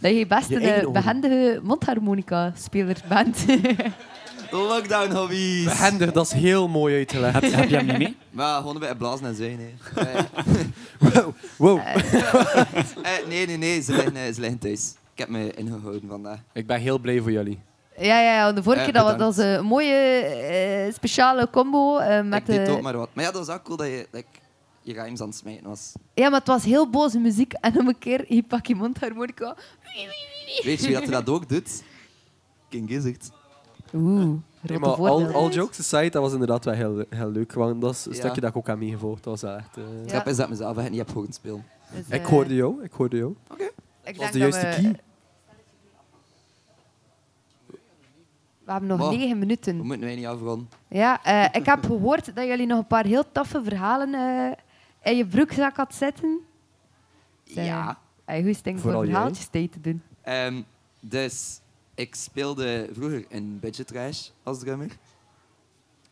Speaker 3: dat je best
Speaker 5: Je
Speaker 3: een
Speaker 5: eigen
Speaker 3: eh,
Speaker 5: oren.
Speaker 3: behendige mondharmonica-speler bent.
Speaker 4: Lockdown hobby's!
Speaker 5: Behendig, dat is heel mooi uit te leggen.
Speaker 9: Heb, heb je hem niet mee?
Speaker 4: Maar gewoon bij blazen en zwijn. hè. Eh,
Speaker 5: Wow.
Speaker 4: eh, nee, nee, nee, ze liggen, eh, ze liggen thuis. Ik heb me ingehouden vandaag.
Speaker 5: Ik ben heel blij voor jullie.
Speaker 3: ja, ja, ja, de vorige
Speaker 4: Eh,
Speaker 3: keer dat, was- dat
Speaker 4: bedankt.
Speaker 3: was een mooie eh, speciale combo. eh, met,
Speaker 4: ik deed
Speaker 3: eh,
Speaker 4: ook maar wat. Maar ja, dat was ook cool dat je dat ik je rijms aan het smijten was.
Speaker 3: ja, maar het was heel boze muziek. En om een keer, hier pak je mondharmonica.
Speaker 4: Weet je wie dat, dat ook doet? King Gizzard.
Speaker 3: Oeh,
Speaker 5: Nee,
Speaker 3: rotte
Speaker 5: maar all,
Speaker 3: voorbeeld.
Speaker 5: all jokes aside, dat was inderdaad wel heel, heel leuk. Want dat is een
Speaker 4: Ja.
Speaker 5: stukje dat ik ook heb meegevolgd. Dat was wel echt, eh,
Speaker 4: Ik heb is dat mezelf echt niet heb horen spelen.
Speaker 3: dus, eh,
Speaker 5: Ik hoorde jou, ik hoorde jou.
Speaker 3: ik
Speaker 5: Dat was
Speaker 3: denk
Speaker 5: de
Speaker 3: dat
Speaker 5: juiste
Speaker 3: we,
Speaker 5: key.
Speaker 3: we hebben nog
Speaker 4: Wow.
Speaker 3: negen
Speaker 4: We
Speaker 3: minuten.
Speaker 4: moeten wij niet afronden.
Speaker 3: Ja, eh, ik heb gehoord dat jullie nog een paar heel toffe verhalen eh, in je broekzak had zitten. Eh,
Speaker 4: Ja.
Speaker 3: Hey, hoe is het denk ik voor
Speaker 5: Vooral jij.
Speaker 3: verhaaltjes tijd te doen?
Speaker 4: Ehm, dus ik speelde vroeger in Budget Trash als drummer.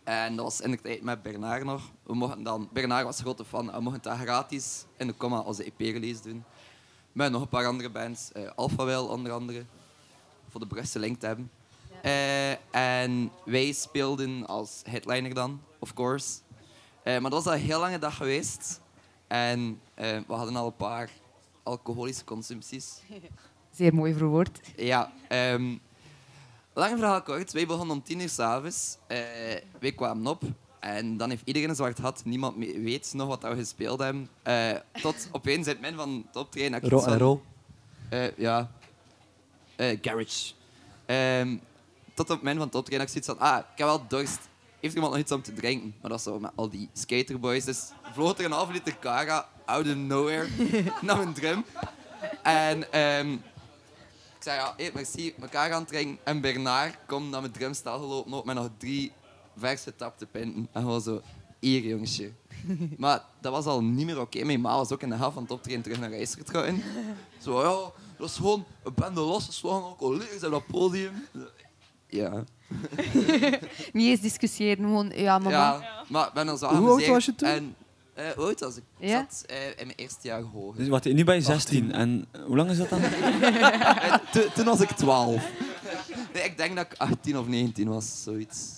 Speaker 4: En dat was in de tijd met Bernard nog. We mochten dan, Bernard was grote fan. We mochten dat gratis in de comma als de EP-release E doen. Met nog een paar andere bands. eh Alpha Wel, onder andere. Voor de beste lengte te hebben. Eh, en wij speelden als headliner dan, of course. Eh, maar dat was al een heel lange dag geweest. En eh, we hadden al een paar alcoholische consumpties.
Speaker 3: Zeer mooi verwoord.
Speaker 4: Ja, ehm lang verhaal kort. Wij begonnen om tien uur s'avonds. Eh wij kwamen op. En dan heeft iedereen een zwart hat. Niemand me- weet nog wat dat we gespeeld hebben. Eh, tot opeens het men van het optreden... dat ik iets van- eh, ja. Eh, garage. Ehm, tot op het moment van het optreden had ik zoiets van... Ah, ik heb wel dorst. Heeft iemand nog iets om te drinken? Maar dat was zo met al die skaterboys. Dus vloot er een half liter Cara out of nowhere naar een drum. En ehm, ik zei ja, hey, merci, elkaar gaan drinken. En Bernard komt naar mijn drumstel gelopen ook met nog drie verse tapte pinten. En gewoon zo... Hier, jongetje. Maar dat was al niet meer oké. Mijn ma was ook in de helft van het optreden terug naar huis getrokken. Zo, ja, dat is gewoon een bende losgeslagen alcoholers op dat podium. Ja.
Speaker 3: Niet eens discussiëren, gewoon ja, mama.
Speaker 4: ja. Maar ik ben dan zo
Speaker 5: Hoe oud
Speaker 4: amuseren.
Speaker 5: was je toen?
Speaker 4: En, eh, hoe oud was ik? Ik
Speaker 3: Ja?
Speaker 4: zat eh, in mijn eerste jaar hoger.
Speaker 9: Dus wat, nu ben je 16. En hoe lang is dat dan?
Speaker 4: Eh, to- toen was ik 12. Nee, ik denk dat ik 18 of 19 was, zoiets.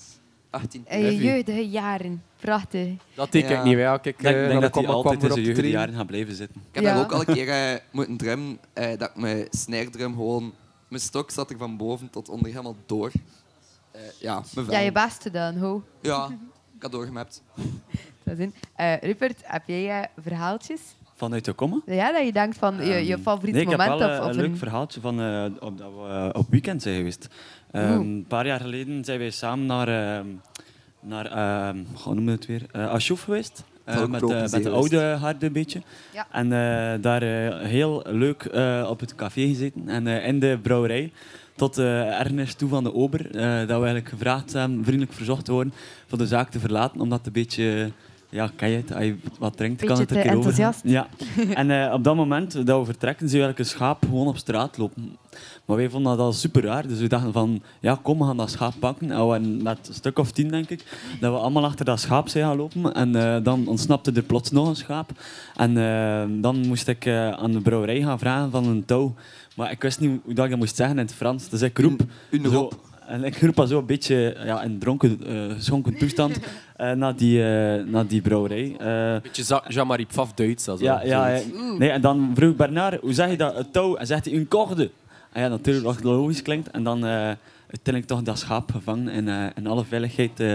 Speaker 4: 18.
Speaker 3: Eh, je jeugdige jaren. Prachtig.
Speaker 5: Dat denk ik
Speaker 4: Ja.
Speaker 5: niet. Hè. Kijk,
Speaker 9: Ik denk,
Speaker 5: eh,
Speaker 9: denk
Speaker 5: dan
Speaker 9: dat
Speaker 5: kwam-
Speaker 9: hij
Speaker 5: kwam
Speaker 9: altijd
Speaker 5: er
Speaker 9: in
Speaker 5: op
Speaker 9: zijn
Speaker 5: te trainen.
Speaker 9: jeugdjaren gaat blijven zitten.
Speaker 4: Ik heb
Speaker 3: Ja.
Speaker 4: daar ook al een keer eh, moeten drummen, eh, dat ik mijn snare drum gewoon... Mijn stok zat er van boven tot onder helemaal door. Eh, ja, mijn
Speaker 3: Ja,
Speaker 4: vel.
Speaker 3: je best gedaan, ho.
Speaker 4: Ja, ik had doorgemapt.
Speaker 3: Dat is in. Eh, Rupert, heb jij eh, verhaaltjes?
Speaker 9: Vanuit de komma?
Speaker 3: Ja, dat je denkt van je, je
Speaker 9: Ehm,
Speaker 3: favoriet
Speaker 9: nee,
Speaker 3: moment
Speaker 9: Ik heb wel
Speaker 3: of,
Speaker 9: eh,
Speaker 3: of
Speaker 9: een leuk
Speaker 3: een-
Speaker 9: verhaaltje van eh, op, dat we eh, op weekend zijn geweest. Ehm,
Speaker 3: Oeh.
Speaker 9: een paar jaar geleden zijn wij samen naar, ehm naar ehm, hoe noemen we het weer? Eh Ashoef geweest.
Speaker 4: Dat is
Speaker 9: Eh,
Speaker 4: ook
Speaker 9: met,
Speaker 4: een
Speaker 9: eh,
Speaker 4: open
Speaker 9: met de
Speaker 4: zee
Speaker 9: oude harde een beetje.
Speaker 3: Ja.
Speaker 9: En eh, daar eh, heel leuk eh, op het café gezeten en eh, in de brouwerij. Tot eh ergens toe van de ober, eh, dat we eigenlijk gevraagd hebben, vriendelijk verzocht worden, van de zaak te verlaten, omdat het een beetje, ja, kan je het, als je wat drinkt, kan
Speaker 3: Beetje
Speaker 9: het er een
Speaker 3: te
Speaker 9: keer over.
Speaker 3: enthousiast.
Speaker 9: Ja, en eh, op dat moment dat we vertrekken, zien we eigenlijk een schaap gewoon op straat lopen. Maar wij vonden dat al super raar, dus we dachten van, ja kom, we gaan dat schaap pakken. En we waren met een stuk of tien, denk ik, dat we allemaal achter dat schaap zijn gaan lopen. En eh, dan ontsnapte er plots nog een schaap. En eh, dan moest ik eh, aan de brouwerij gaan vragen van een touw. Maar ik wist niet hoe dat ik dat moest zeggen in het Frans, dus ik roep...
Speaker 4: Een
Speaker 9: zo-
Speaker 4: rop.
Speaker 9: en ik roep al zo een beetje ja, in dronken, eh, geschonken toestand eh, naar, die, eh, naar die brouwerij. Eh,
Speaker 5: Beetje Za- Jean-Marie Pfaff Duits. Dat
Speaker 9: ja, ja, ja. Nee, en dan vroeg Bernard, hoe zeg je dat, het touw? En zegt hij, een corde. En ja, natuurlijk, wat logisch klinkt. En dan eh uiteindelijk toch dat schaap gevangen en eh, in alle veiligheid eh,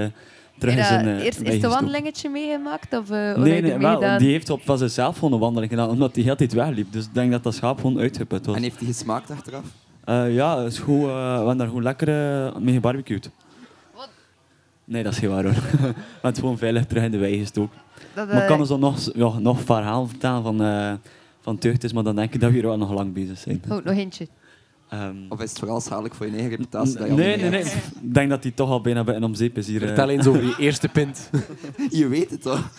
Speaker 9: terug
Speaker 3: Heb
Speaker 9: in
Speaker 3: je dat
Speaker 9: zijn eh,
Speaker 3: eerst
Speaker 9: bijgestoken.
Speaker 3: eerste wandelingetje meegemaakt? Of, eh, hoe heb
Speaker 9: Nee,
Speaker 3: je
Speaker 9: nee,
Speaker 3: er
Speaker 9: wel,
Speaker 3: meegedaan?
Speaker 9: die heeft op van zichzelf gewoon een wandeling gedaan, omdat hij heel de tijd wegliep. Dus ik denk dat dat schaap gewoon uitgeput was.
Speaker 4: En heeft hij gesmaakt achteraf?
Speaker 9: Eh, ja, is goed, eh, we hebben daar gewoon lekker eh, mee gebarbecued.
Speaker 3: Wat?
Speaker 9: Nee, dat is geen waar hoor. we hebben het gewoon veilig terug in de wei gestoken.
Speaker 3: Dat,
Speaker 9: Maar ik
Speaker 3: eh,
Speaker 9: kan ons dan nog, ja, nog verhaal vertellen van, eh van Teugtes, maar dan denk ik dat we hier wel nog lang bezig zijn.
Speaker 3: oh, nog eentje.
Speaker 9: Ehm,
Speaker 4: Of is het vooral schadelijk voor je eigen reputatie? Dat je al
Speaker 9: nee,
Speaker 4: niet
Speaker 9: nee, nee.
Speaker 4: hebt?
Speaker 9: Ik denk dat hij toch al bijna bij een omzeep is hier. eh.
Speaker 5: Vertel eens over je eerste pint.
Speaker 4: Je weet het toch?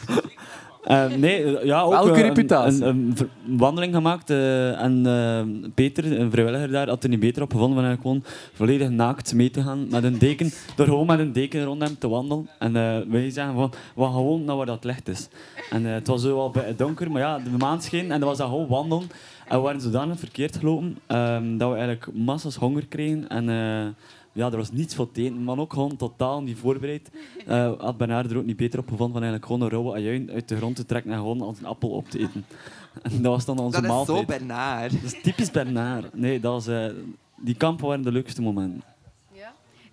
Speaker 9: Ehm, nee, eh, ja, ook,
Speaker 5: Welke
Speaker 9: eh, een-
Speaker 5: reputatie?
Speaker 9: Een, een ver- een wandeling gemaakt eh, en eh, Peter, een vrijwilliger daar, had er niet beter op gevonden dan eigenlijk gewoon volledig naakt mee te gaan met een deken, door gewoon met een deken rond hem te wandelen. En eh, wij zeggen van, wat gewoon naar waar dat licht is. En eh, het was zo wel bij- donker, maar ja, de maan scheen en dat was dat gewoon wandelen. En we waren zodanig verkeerd gelopen ehm, dat we eigenlijk massas honger kregen en... eh, ja, er was niets voor tegen, maar ook gewoon totaal niet voorbereid. Eh had Bernard er ook niet beter op gevonden van eigenlijk gewoon een rauwe ajuin uit de grond te trekken en gewoon als een appel op te eten. En dat was dan onze
Speaker 4: Dat is
Speaker 9: maaltijd.
Speaker 4: zo Bernard.
Speaker 9: dat is typisch Bernard. Nee, dat was, eh, die kampen waren de leukste momenten.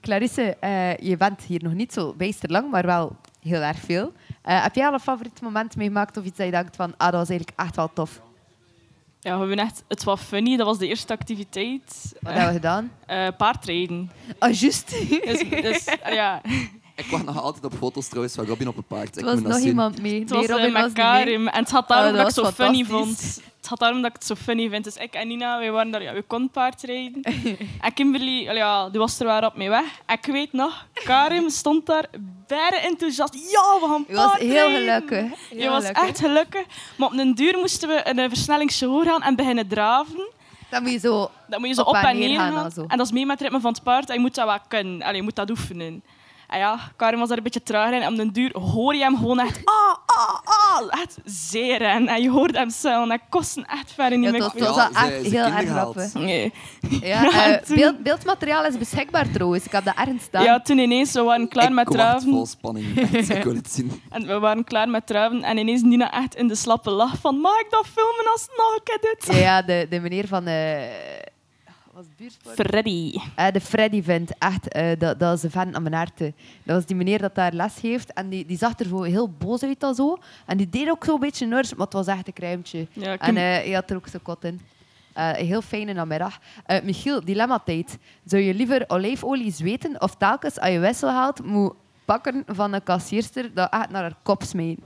Speaker 3: Clarisse, eh, je bent hier nog niet zo bijster lang, maar wel heel erg veel. Eh, heb jij al een favoriet moment meegemaakt of iets dat je denkt van, ah, dat was eigenlijk echt wel tof.
Speaker 7: Ja, we hebben echt, het was funny, dat was de eerste activiteit.
Speaker 3: Wat hebben we gedaan?
Speaker 7: Eh, paardrijden.
Speaker 3: Ah, juist.
Speaker 7: Dus, dus, eh, ja.
Speaker 4: Ik wacht nog altijd op foto's trouwens van Robin op een paard.
Speaker 3: Er
Speaker 4: Ik
Speaker 3: was
Speaker 4: moet dat
Speaker 3: nog
Speaker 4: zien.
Speaker 3: iemand mee.
Speaker 7: Het was
Speaker 3: nee,
Speaker 7: eh,
Speaker 3: Robin was
Speaker 7: met
Speaker 3: niet mee.
Speaker 7: Karim. En het had daarom
Speaker 3: Oh,
Speaker 7: dat,
Speaker 3: dat
Speaker 7: ik het
Speaker 3: was
Speaker 7: zo funny
Speaker 3: fantastisch.
Speaker 7: vond. Het had daarom dat ik het zo funny vind. Dus ik en Nina, wij waren daar, ja, we konden paardrijden. en Kimberly, wel ja, die was er waar op mee weg. En ik weet nog, Karim stond daar bijna enthousiast. Ja, we gaan
Speaker 3: Je was
Speaker 7: paardrijden.
Speaker 3: heel gelukkig. Heel
Speaker 7: Je was
Speaker 3: gelukkig.
Speaker 7: echt gelukkig. Maar op een duur moesten we in een versnellingsgehoor gaan en beginnen draven.
Speaker 3: Dan moet je zo...
Speaker 7: Dan moet je zo op, en neer gaan.
Speaker 3: al zo.
Speaker 7: En dat is mee met het ritme van het paard. En je moet dat wel kunnen. Allee, je moet dat oefenen. En ja, Karim was daar een beetje trager in. En om den duur hoor je hem gewoon echt... Ah, ah, ah. Echt zeer. En, en je hoort hem zo. En dat kost hem echt verder niet
Speaker 3: Ja,
Speaker 7: meer.
Speaker 3: dat
Speaker 7: kwijt.
Speaker 3: was
Speaker 4: Ja,
Speaker 3: wel
Speaker 4: ze-
Speaker 3: echt
Speaker 4: ze
Speaker 3: heel erg
Speaker 4: kinderen haalt.
Speaker 3: grappig.
Speaker 7: Nee.
Speaker 3: Ja,
Speaker 7: Ja,
Speaker 3: eh,
Speaker 7: toen-
Speaker 3: beeld, beeldmateriaal is beschikbaar trouwens. Ik heb dat ergens staan.
Speaker 7: Ja, toen ineens, we waren klaar
Speaker 4: ik
Speaker 7: met
Speaker 4: kom echt
Speaker 7: draven.
Speaker 4: vol spanning. Echt, ik wil het zien.
Speaker 7: En we waren klaar met draven. En ineens Nina echt in de slappe lach van... Mag ik dat filmen als het nog een keer
Speaker 3: Ja,
Speaker 7: doet?
Speaker 3: ja, de, de meneer van... eh was het buurtsport?
Speaker 7: Freddy.
Speaker 3: Eh, de Freddy vindt echt, eh, dat, dat is een fan aan mijn hart. hè. Dat was die meneer dat daar les heeft. En die, die zag er zo heel boos uit en zo. En die deed ook zo'n beetje nurs, maar het was echt een kruimpje.
Speaker 7: Ja,
Speaker 3: En eh, hij had er ook zijn kot in. Eh, een heel fijne namiddag. Eh, Michiel, dilemma-tijd. Zou je liever olijfolie zweten of telkens als je wissel haalt, moet pakken van een kassierster dat echt naar haar kop smijten?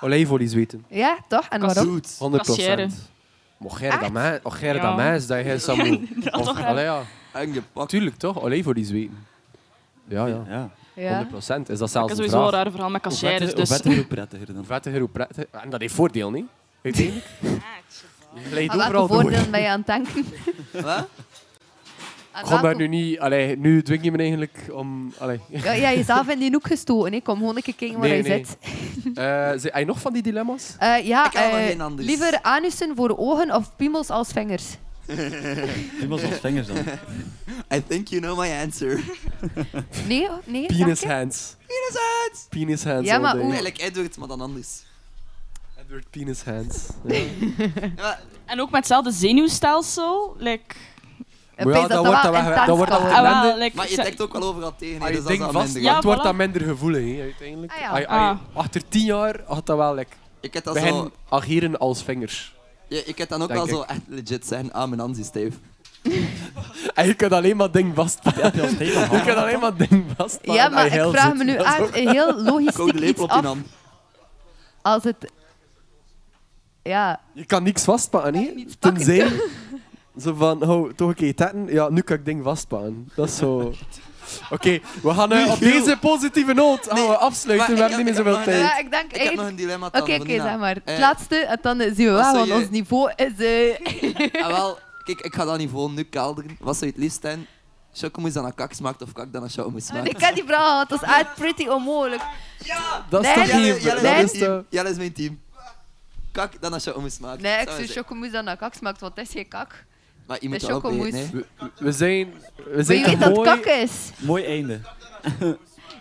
Speaker 5: Olijfolie zweten.
Speaker 3: Ja, toch? En waarom?
Speaker 4: Zoet.
Speaker 5: 100
Speaker 7: Kassiëren.
Speaker 5: procent. Mocher
Speaker 3: Echt?
Speaker 5: dan mij, mocher
Speaker 7: Ja.
Speaker 5: dan mij is oh, dat je Samu. Oh,
Speaker 7: Dat toch
Speaker 5: Allee, ja.
Speaker 4: En gepakt.
Speaker 5: Tuurlijk toch? Olijfolie zweten. Ja, Ah, ja.
Speaker 9: Ja.
Speaker 3: Ja.
Speaker 5: 100 procent. Is dat
Speaker 7: Dat
Speaker 5: zelfs
Speaker 7: is
Speaker 5: een
Speaker 7: sowieso een
Speaker 5: vraag?
Speaker 7: raar verhaal met
Speaker 9: Hoe vetter,
Speaker 7: kassières.
Speaker 9: hoe
Speaker 7: Dus.
Speaker 9: vetter, hoe prettiger dan.
Speaker 5: Hoe vettiger, hoe prettig. En dat heeft voordeel, niet? Uiteindelijk. Je glijdt
Speaker 3: Aan welke
Speaker 5: overal door.
Speaker 3: voordelen ben je aan het denken?
Speaker 4: Wat?
Speaker 3: Aan
Speaker 5: Kom maar
Speaker 3: welke
Speaker 5: nu niet... Allee, nu dwing je me eigenlijk om... Allee.
Speaker 3: Ja, ja, jezelf in die hoek gestoten. hè. Kom gewoon een keer kijken waar
Speaker 5: Nee,
Speaker 3: je
Speaker 5: nee.
Speaker 3: zit.
Speaker 5: Eh, zijn- Heb je nog van die dilemma's?
Speaker 3: Eh, ja,
Speaker 4: Ik kan wel
Speaker 3: eh,
Speaker 4: geen anders.
Speaker 3: liever anussen voor ogen of piemels als vingers?
Speaker 9: Die was als vingers dan.
Speaker 4: I think you know my answer.
Speaker 3: Nee, oh, nee.
Speaker 5: Penis
Speaker 3: dank je.
Speaker 5: hands.
Speaker 4: Penis hands!
Speaker 5: Penis hands.
Speaker 3: Ja,
Speaker 5: all
Speaker 3: maar
Speaker 5: day.
Speaker 3: hoe-
Speaker 4: Eigenlijk Edward, maar dan anders.
Speaker 5: Edward penis hands. Ja.
Speaker 4: Ja, maar
Speaker 7: En ook met hetzelfde zenuwstelsel. Like,
Speaker 3: Eh,
Speaker 5: Maar
Speaker 3: pees
Speaker 5: ja, dat
Speaker 3: dat
Speaker 5: wordt
Speaker 3: wel
Speaker 5: dat weg-
Speaker 3: intens
Speaker 5: dat wordt
Speaker 3: kan
Speaker 5: dat-
Speaker 3: worden.
Speaker 7: ah, wel,
Speaker 5: Ellende.
Speaker 7: like,
Speaker 4: Eh, maar je
Speaker 7: ze-
Speaker 4: denkt ook wel overal tegen. hè,
Speaker 5: Als Ah, je
Speaker 4: dus dat is
Speaker 5: ding
Speaker 4: al
Speaker 5: vast
Speaker 4: minder.
Speaker 7: Ja,
Speaker 5: ja, wordt
Speaker 7: voilà.
Speaker 5: dat minder gevoelig, hè, uiteindelijk.
Speaker 3: Ah, ja.
Speaker 5: Ai, ai,
Speaker 7: Ah.
Speaker 5: Achter tien jaar had dat wel lekker.
Speaker 4: Ik heb dat
Speaker 5: Bij
Speaker 4: zo...
Speaker 5: hen ageren als vingers.
Speaker 4: Ja, ik heb dan ook
Speaker 5: Denk
Speaker 4: wel
Speaker 5: ik.
Speaker 4: zo echt legit zijn. Ah, mijn hand is stijf.
Speaker 5: En je kunt alleen maar ding vastpakken.
Speaker 9: Die was tegen
Speaker 5: Je kunt alleen maar ding vastpakken.
Speaker 4: Ah,
Speaker 3: Ja, maar
Speaker 5: als je
Speaker 3: ik
Speaker 5: heel
Speaker 3: vraag
Speaker 5: zit.
Speaker 3: me nu
Speaker 5: Dat is
Speaker 3: echt
Speaker 5: ook-
Speaker 3: een heel logistiek
Speaker 4: Koude
Speaker 3: iets
Speaker 4: lepel op je
Speaker 3: af.
Speaker 4: hand.
Speaker 3: Als het... Ja,
Speaker 5: Je kan niks vastpakken, hè? Tenzij... Zo van, hou, toch een keer tetten. Ja, nu kan ik ding vastpakken. Dat is zo... Oké, we gaan eh, op deze positieve noot gaan
Speaker 4: Nee,
Speaker 5: we afsluiten.
Speaker 4: maar
Speaker 5: We
Speaker 4: ik
Speaker 5: hebben niet meer
Speaker 4: heb-
Speaker 5: zoveel
Speaker 4: ik heb
Speaker 5: tijd.
Speaker 3: ja ik denk...
Speaker 4: Ik heb
Speaker 3: echt-
Speaker 4: nog een dilemma
Speaker 3: Oké,
Speaker 4: dan van
Speaker 3: oké,
Speaker 4: Nina.
Speaker 3: zeg maar. Het
Speaker 4: Eh,
Speaker 3: laatste, en dan zien we
Speaker 4: zou
Speaker 3: wel, want
Speaker 4: je-
Speaker 3: ons niveau is... eh,
Speaker 4: Ah, wel, kijk, ik ga dat niveau nu kelderen. Wat zou je het liefst zijn? Chocomousse dan aan kak smaakt of kak dan aan chocomousse
Speaker 3: Ah, ik
Speaker 4: smaakt?
Speaker 3: ken die verhaal, het is echt pretty onmogelijk.
Speaker 5: Dat is
Speaker 3: Nee,
Speaker 5: toch
Speaker 3: Jelle-
Speaker 5: hier?
Speaker 4: Jelle
Speaker 5: Dat
Speaker 4: is
Speaker 5: is
Speaker 4: mijn team.
Speaker 5: de...
Speaker 4: Jelle is mijn team. Kak dan aan chocomousse smaakt.
Speaker 3: Nee, ik
Speaker 4: Zou
Speaker 3: zou
Speaker 4: je zeggen.
Speaker 3: chocomousse dan naar kak smaakt, want het is geen kak.
Speaker 4: Maar je moet
Speaker 3: de
Speaker 4: dat ook
Speaker 3: chocomousse.
Speaker 4: weten, hè.
Speaker 5: We, we zijn... We
Speaker 3: Maar je
Speaker 5: zijn
Speaker 3: weet
Speaker 5: te
Speaker 3: dat het
Speaker 5: mooi...
Speaker 3: kak is.
Speaker 9: Mooi einde.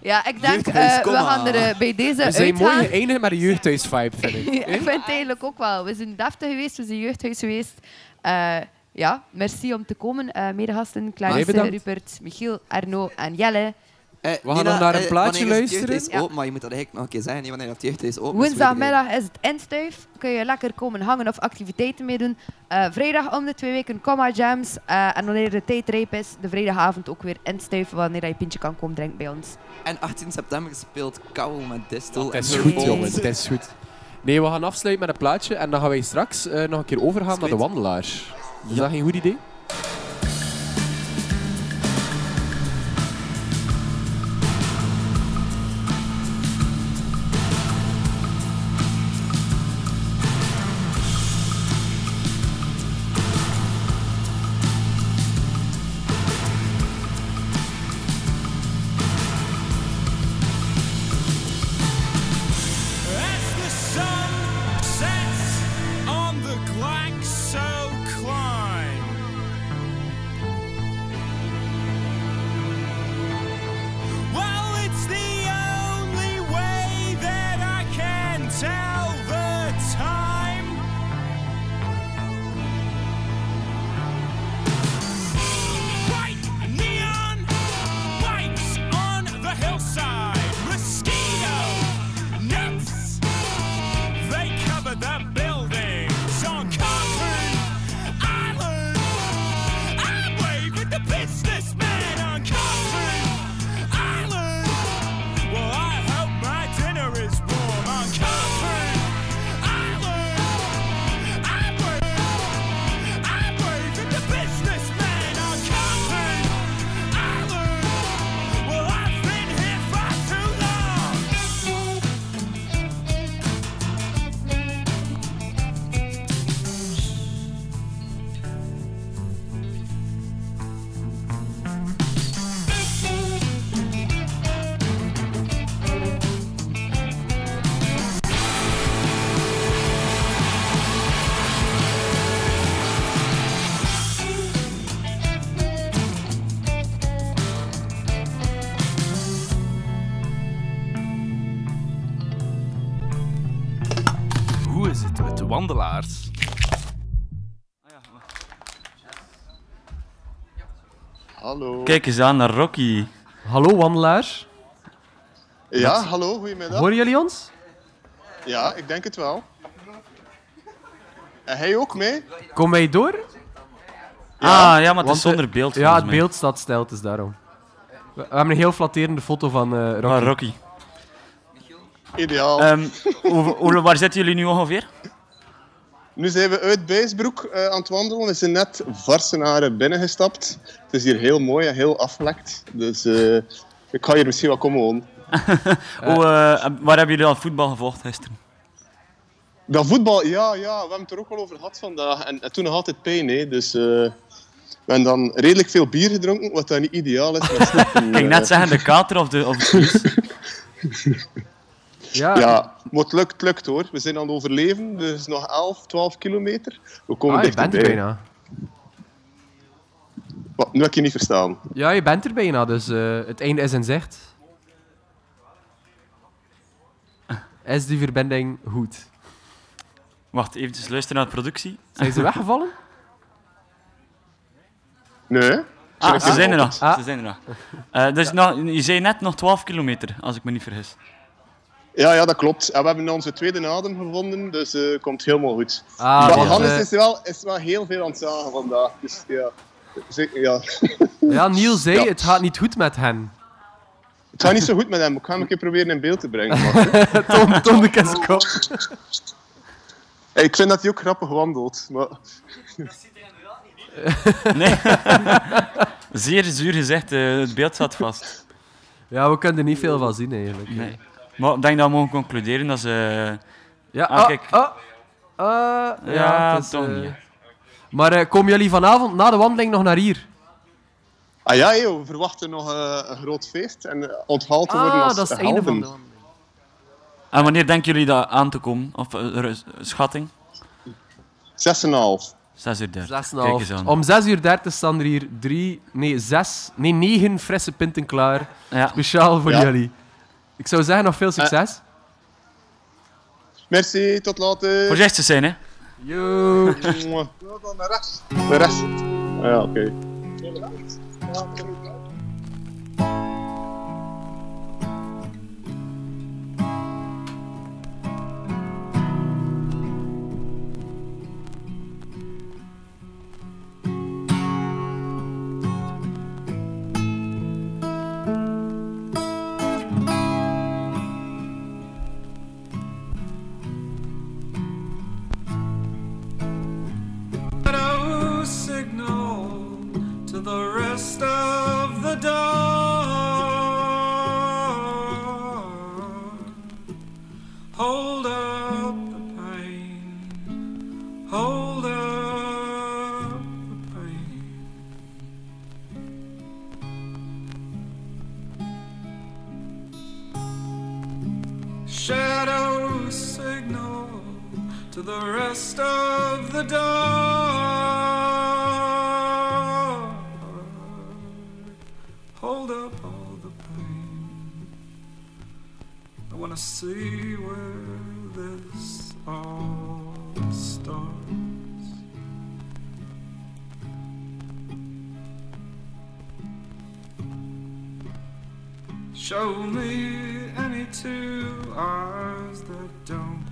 Speaker 3: Ja, ik denk,
Speaker 4: Jeugdhuis,
Speaker 3: eh, we
Speaker 4: kom
Speaker 3: gaan er
Speaker 4: maar.
Speaker 3: eh, bij deze
Speaker 5: We zijn mooi
Speaker 3: uitgaan.
Speaker 5: geëindigd met een jeugdhuis-vibe, vind ik.
Speaker 3: ik vind het eigenlijk ook wel. We zijn deftig geweest, we zijn jeugdhuis geweest. Eh, ja, merci om te komen, eh medegasten. Clarisse,
Speaker 5: Jij bedankt. Oh,
Speaker 3: Rupert, Michiel, Arno en Jelle.
Speaker 4: Eh,
Speaker 5: We gaan nog naar een
Speaker 4: eh,
Speaker 5: plaatje
Speaker 4: wanneer is het
Speaker 5: luisteren?
Speaker 4: jeugdhuis
Speaker 3: Ja.
Speaker 4: open, maar je moet dat eigenlijk nog een keer zeggen. hè, Wanneer dat jeugdhuis open is, Oh, weet je niet.
Speaker 3: Woensdagmiddag is het instuif. Kun je lekker komen hangen of activiteiten meedoen. Eh, vrijdag om de twee weken comma jams. Eh, en wanneer de tijd rijp is, de vrijdagavond ook weer instuif. Wanneer je pintje kan komen drinken bij ons.
Speaker 4: En 18 september speelt Kauw met Distel.
Speaker 5: Het is
Speaker 4: en
Speaker 5: goed,
Speaker 4: Hormones.
Speaker 5: jongen. Het is goed. Nee, we gaan afsluiten met een plaatje en dan gaan wij straks eh, nog een keer overgaan naar de
Speaker 4: Sweet.
Speaker 5: wandelaar. Is dat geen goed idee?
Speaker 11: As the sun sets on the Glaxo Climb,
Speaker 12: wandelaars.
Speaker 13: Hallo.
Speaker 9: Kijk eens aan naar Rocky.
Speaker 5: Hallo wandelaars.
Speaker 13: Ja,
Speaker 5: Wat?
Speaker 13: hallo, goedemiddag.
Speaker 5: Horen jullie ons?
Speaker 13: Ja, ik denk het wel. En hij ook mee?
Speaker 5: Kom mij door?
Speaker 9: Ja. Ah, ja, maar het is
Speaker 5: Want, eh,
Speaker 9: zonder beeld,
Speaker 5: Ja,
Speaker 9: volgens
Speaker 5: het
Speaker 9: mij.
Speaker 5: beeld staat stijl, het is daarom. We, we hebben een heel flatterende foto van eh, Rocky.
Speaker 9: Ah, Rocky.
Speaker 13: Ideaal.
Speaker 9: Ehm, hoe- hoe- waar zitten jullie nu ongeveer?
Speaker 13: Nu zijn we uit Bijsbroek eh, aan het wandelen. We zijn net Varsenaren binnengestapt. Het is hier heel mooi en heel aflekt. Dus eh, ik ga hier misschien wel komen wonen.
Speaker 9: Hoe, eh, heb- waar hebben jullie al voetbal gevolgd gisteren?
Speaker 13: Dat voetbal, ja, ja, we hebben het er ook al over gehad vandaag. En, en toen nog altijd pijn, hè. Dus eh, we hebben dan redelijk veel bier gedronken, wat dan niet ideaal is. eh. maar
Speaker 9: Ik ging net zeggen, de kater of de... Of de vlies.
Speaker 5: Ja.
Speaker 13: ja, maar het lukt, het lukt hoor. We zijn aan het overleven, dus nog 11, 12 kilometer. We komen
Speaker 5: Ah, je bent er
Speaker 13: dichterbij.
Speaker 5: bijna.
Speaker 13: Wat, nu heb ik je niet verstaan.
Speaker 5: Ja, je bent er bijna, dus eh, het einde is in zicht. Is die verbinding goed?
Speaker 9: Wacht, eventjes luisteren naar de productie.
Speaker 5: Zijn ze weggevallen?
Speaker 13: Nee.
Speaker 9: Ah, ze zijn er nog.
Speaker 5: Ah.
Speaker 9: Ze zijn er nog. Eh, dus nog, je zei net nog 12 kilometer, als ik me niet vergis.
Speaker 13: Ja, ja, dat klopt. En we hebben onze tweede adem gevonden, dus eh komt helemaal goed.
Speaker 9: Ah,
Speaker 13: maar
Speaker 9: ja.
Speaker 13: Hannes
Speaker 9: Eh.
Speaker 13: is wel, is wel heel veel aan het zagen vandaag. Dus ja, zeker, ja.
Speaker 5: Ja, Niel zei,
Speaker 13: Ja.
Speaker 5: het gaat niet goed met hen.
Speaker 13: Het gaat niet zo goed met hem. Ik ga hem een keer proberen in beeld te brengen.
Speaker 5: Tom, Tom de Keskop.
Speaker 13: ik vind dat hij ook grappig wandelt. Maar...
Speaker 9: Nee. Zeer zuur gezegd, eh, het beeld zat vast.
Speaker 5: Ja, we kunnen er niet veel van zien eigenlijk.
Speaker 9: Nee. Maar ik denk dat we mogen concluderen dat ze...
Speaker 5: Ja,
Speaker 9: ah,
Speaker 5: ah,
Speaker 9: kijk.
Speaker 5: ah, ah,
Speaker 9: Ja,
Speaker 5: het is,
Speaker 9: toch
Speaker 5: eh,
Speaker 9: niet.
Speaker 5: Maar eh, komen jullie vanavond na de wandeling nog naar hier?
Speaker 13: Ah ja, joh, we verwachten nog eh, een groot feest en eh, onthaald te worden
Speaker 5: Ah,
Speaker 13: als
Speaker 5: dat is het einde
Speaker 13: helden.
Speaker 5: van
Speaker 9: En wanneer denken jullie dat aan te komen? Of eh, er is- schatting?
Speaker 13: 6,5.
Speaker 9: 6 uur 30.
Speaker 5: Zes en
Speaker 9: Kijk
Speaker 5: half.
Speaker 9: eens aan.
Speaker 5: Om 6 uur 30 staan er hier drie, nee, zes, nee, negen frisse pinten klaar.
Speaker 9: Ja.
Speaker 5: Speciaal voor
Speaker 13: Ja.
Speaker 5: jullie. Ik zou zeggen, nog veel succes.
Speaker 13: Merci, tot later.
Speaker 9: Voorzichtig zijn, hè.
Speaker 5: Yo.
Speaker 13: Mwah. Naar rechts. Naar rechts. Ah, ja, oké.
Speaker 11: Shadow signal to the rest of the dawn. Hold up the pain. Hold up the pain. Shadow signal to the rest of the dark. Hold up all the pain. I wanna see where this all starts. Show me any two eyes that don't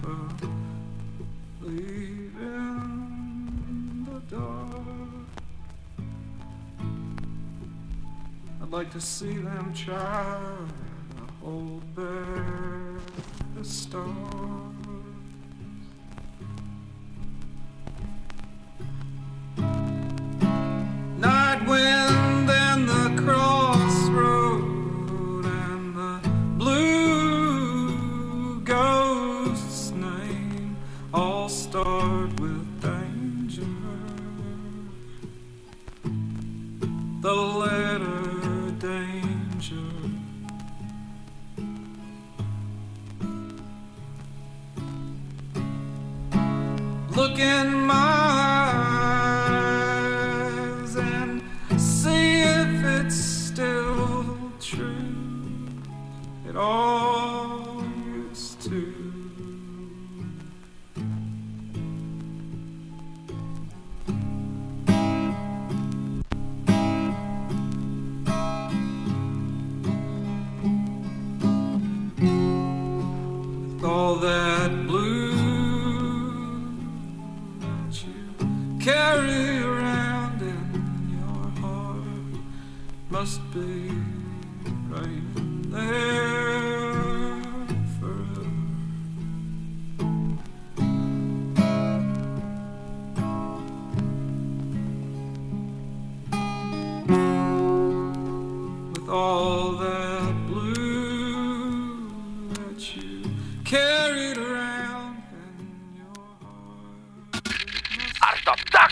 Speaker 11: believe in the dark. I'd like to see them try to hold back the stars. Night wind and the crossroad and the blue ghost's name all start with danger. The letter danger. Look in my eyes and see if it's still true. It all used to. just be right there forever. With all that blue that you carried around.
Speaker 1: Artop tak!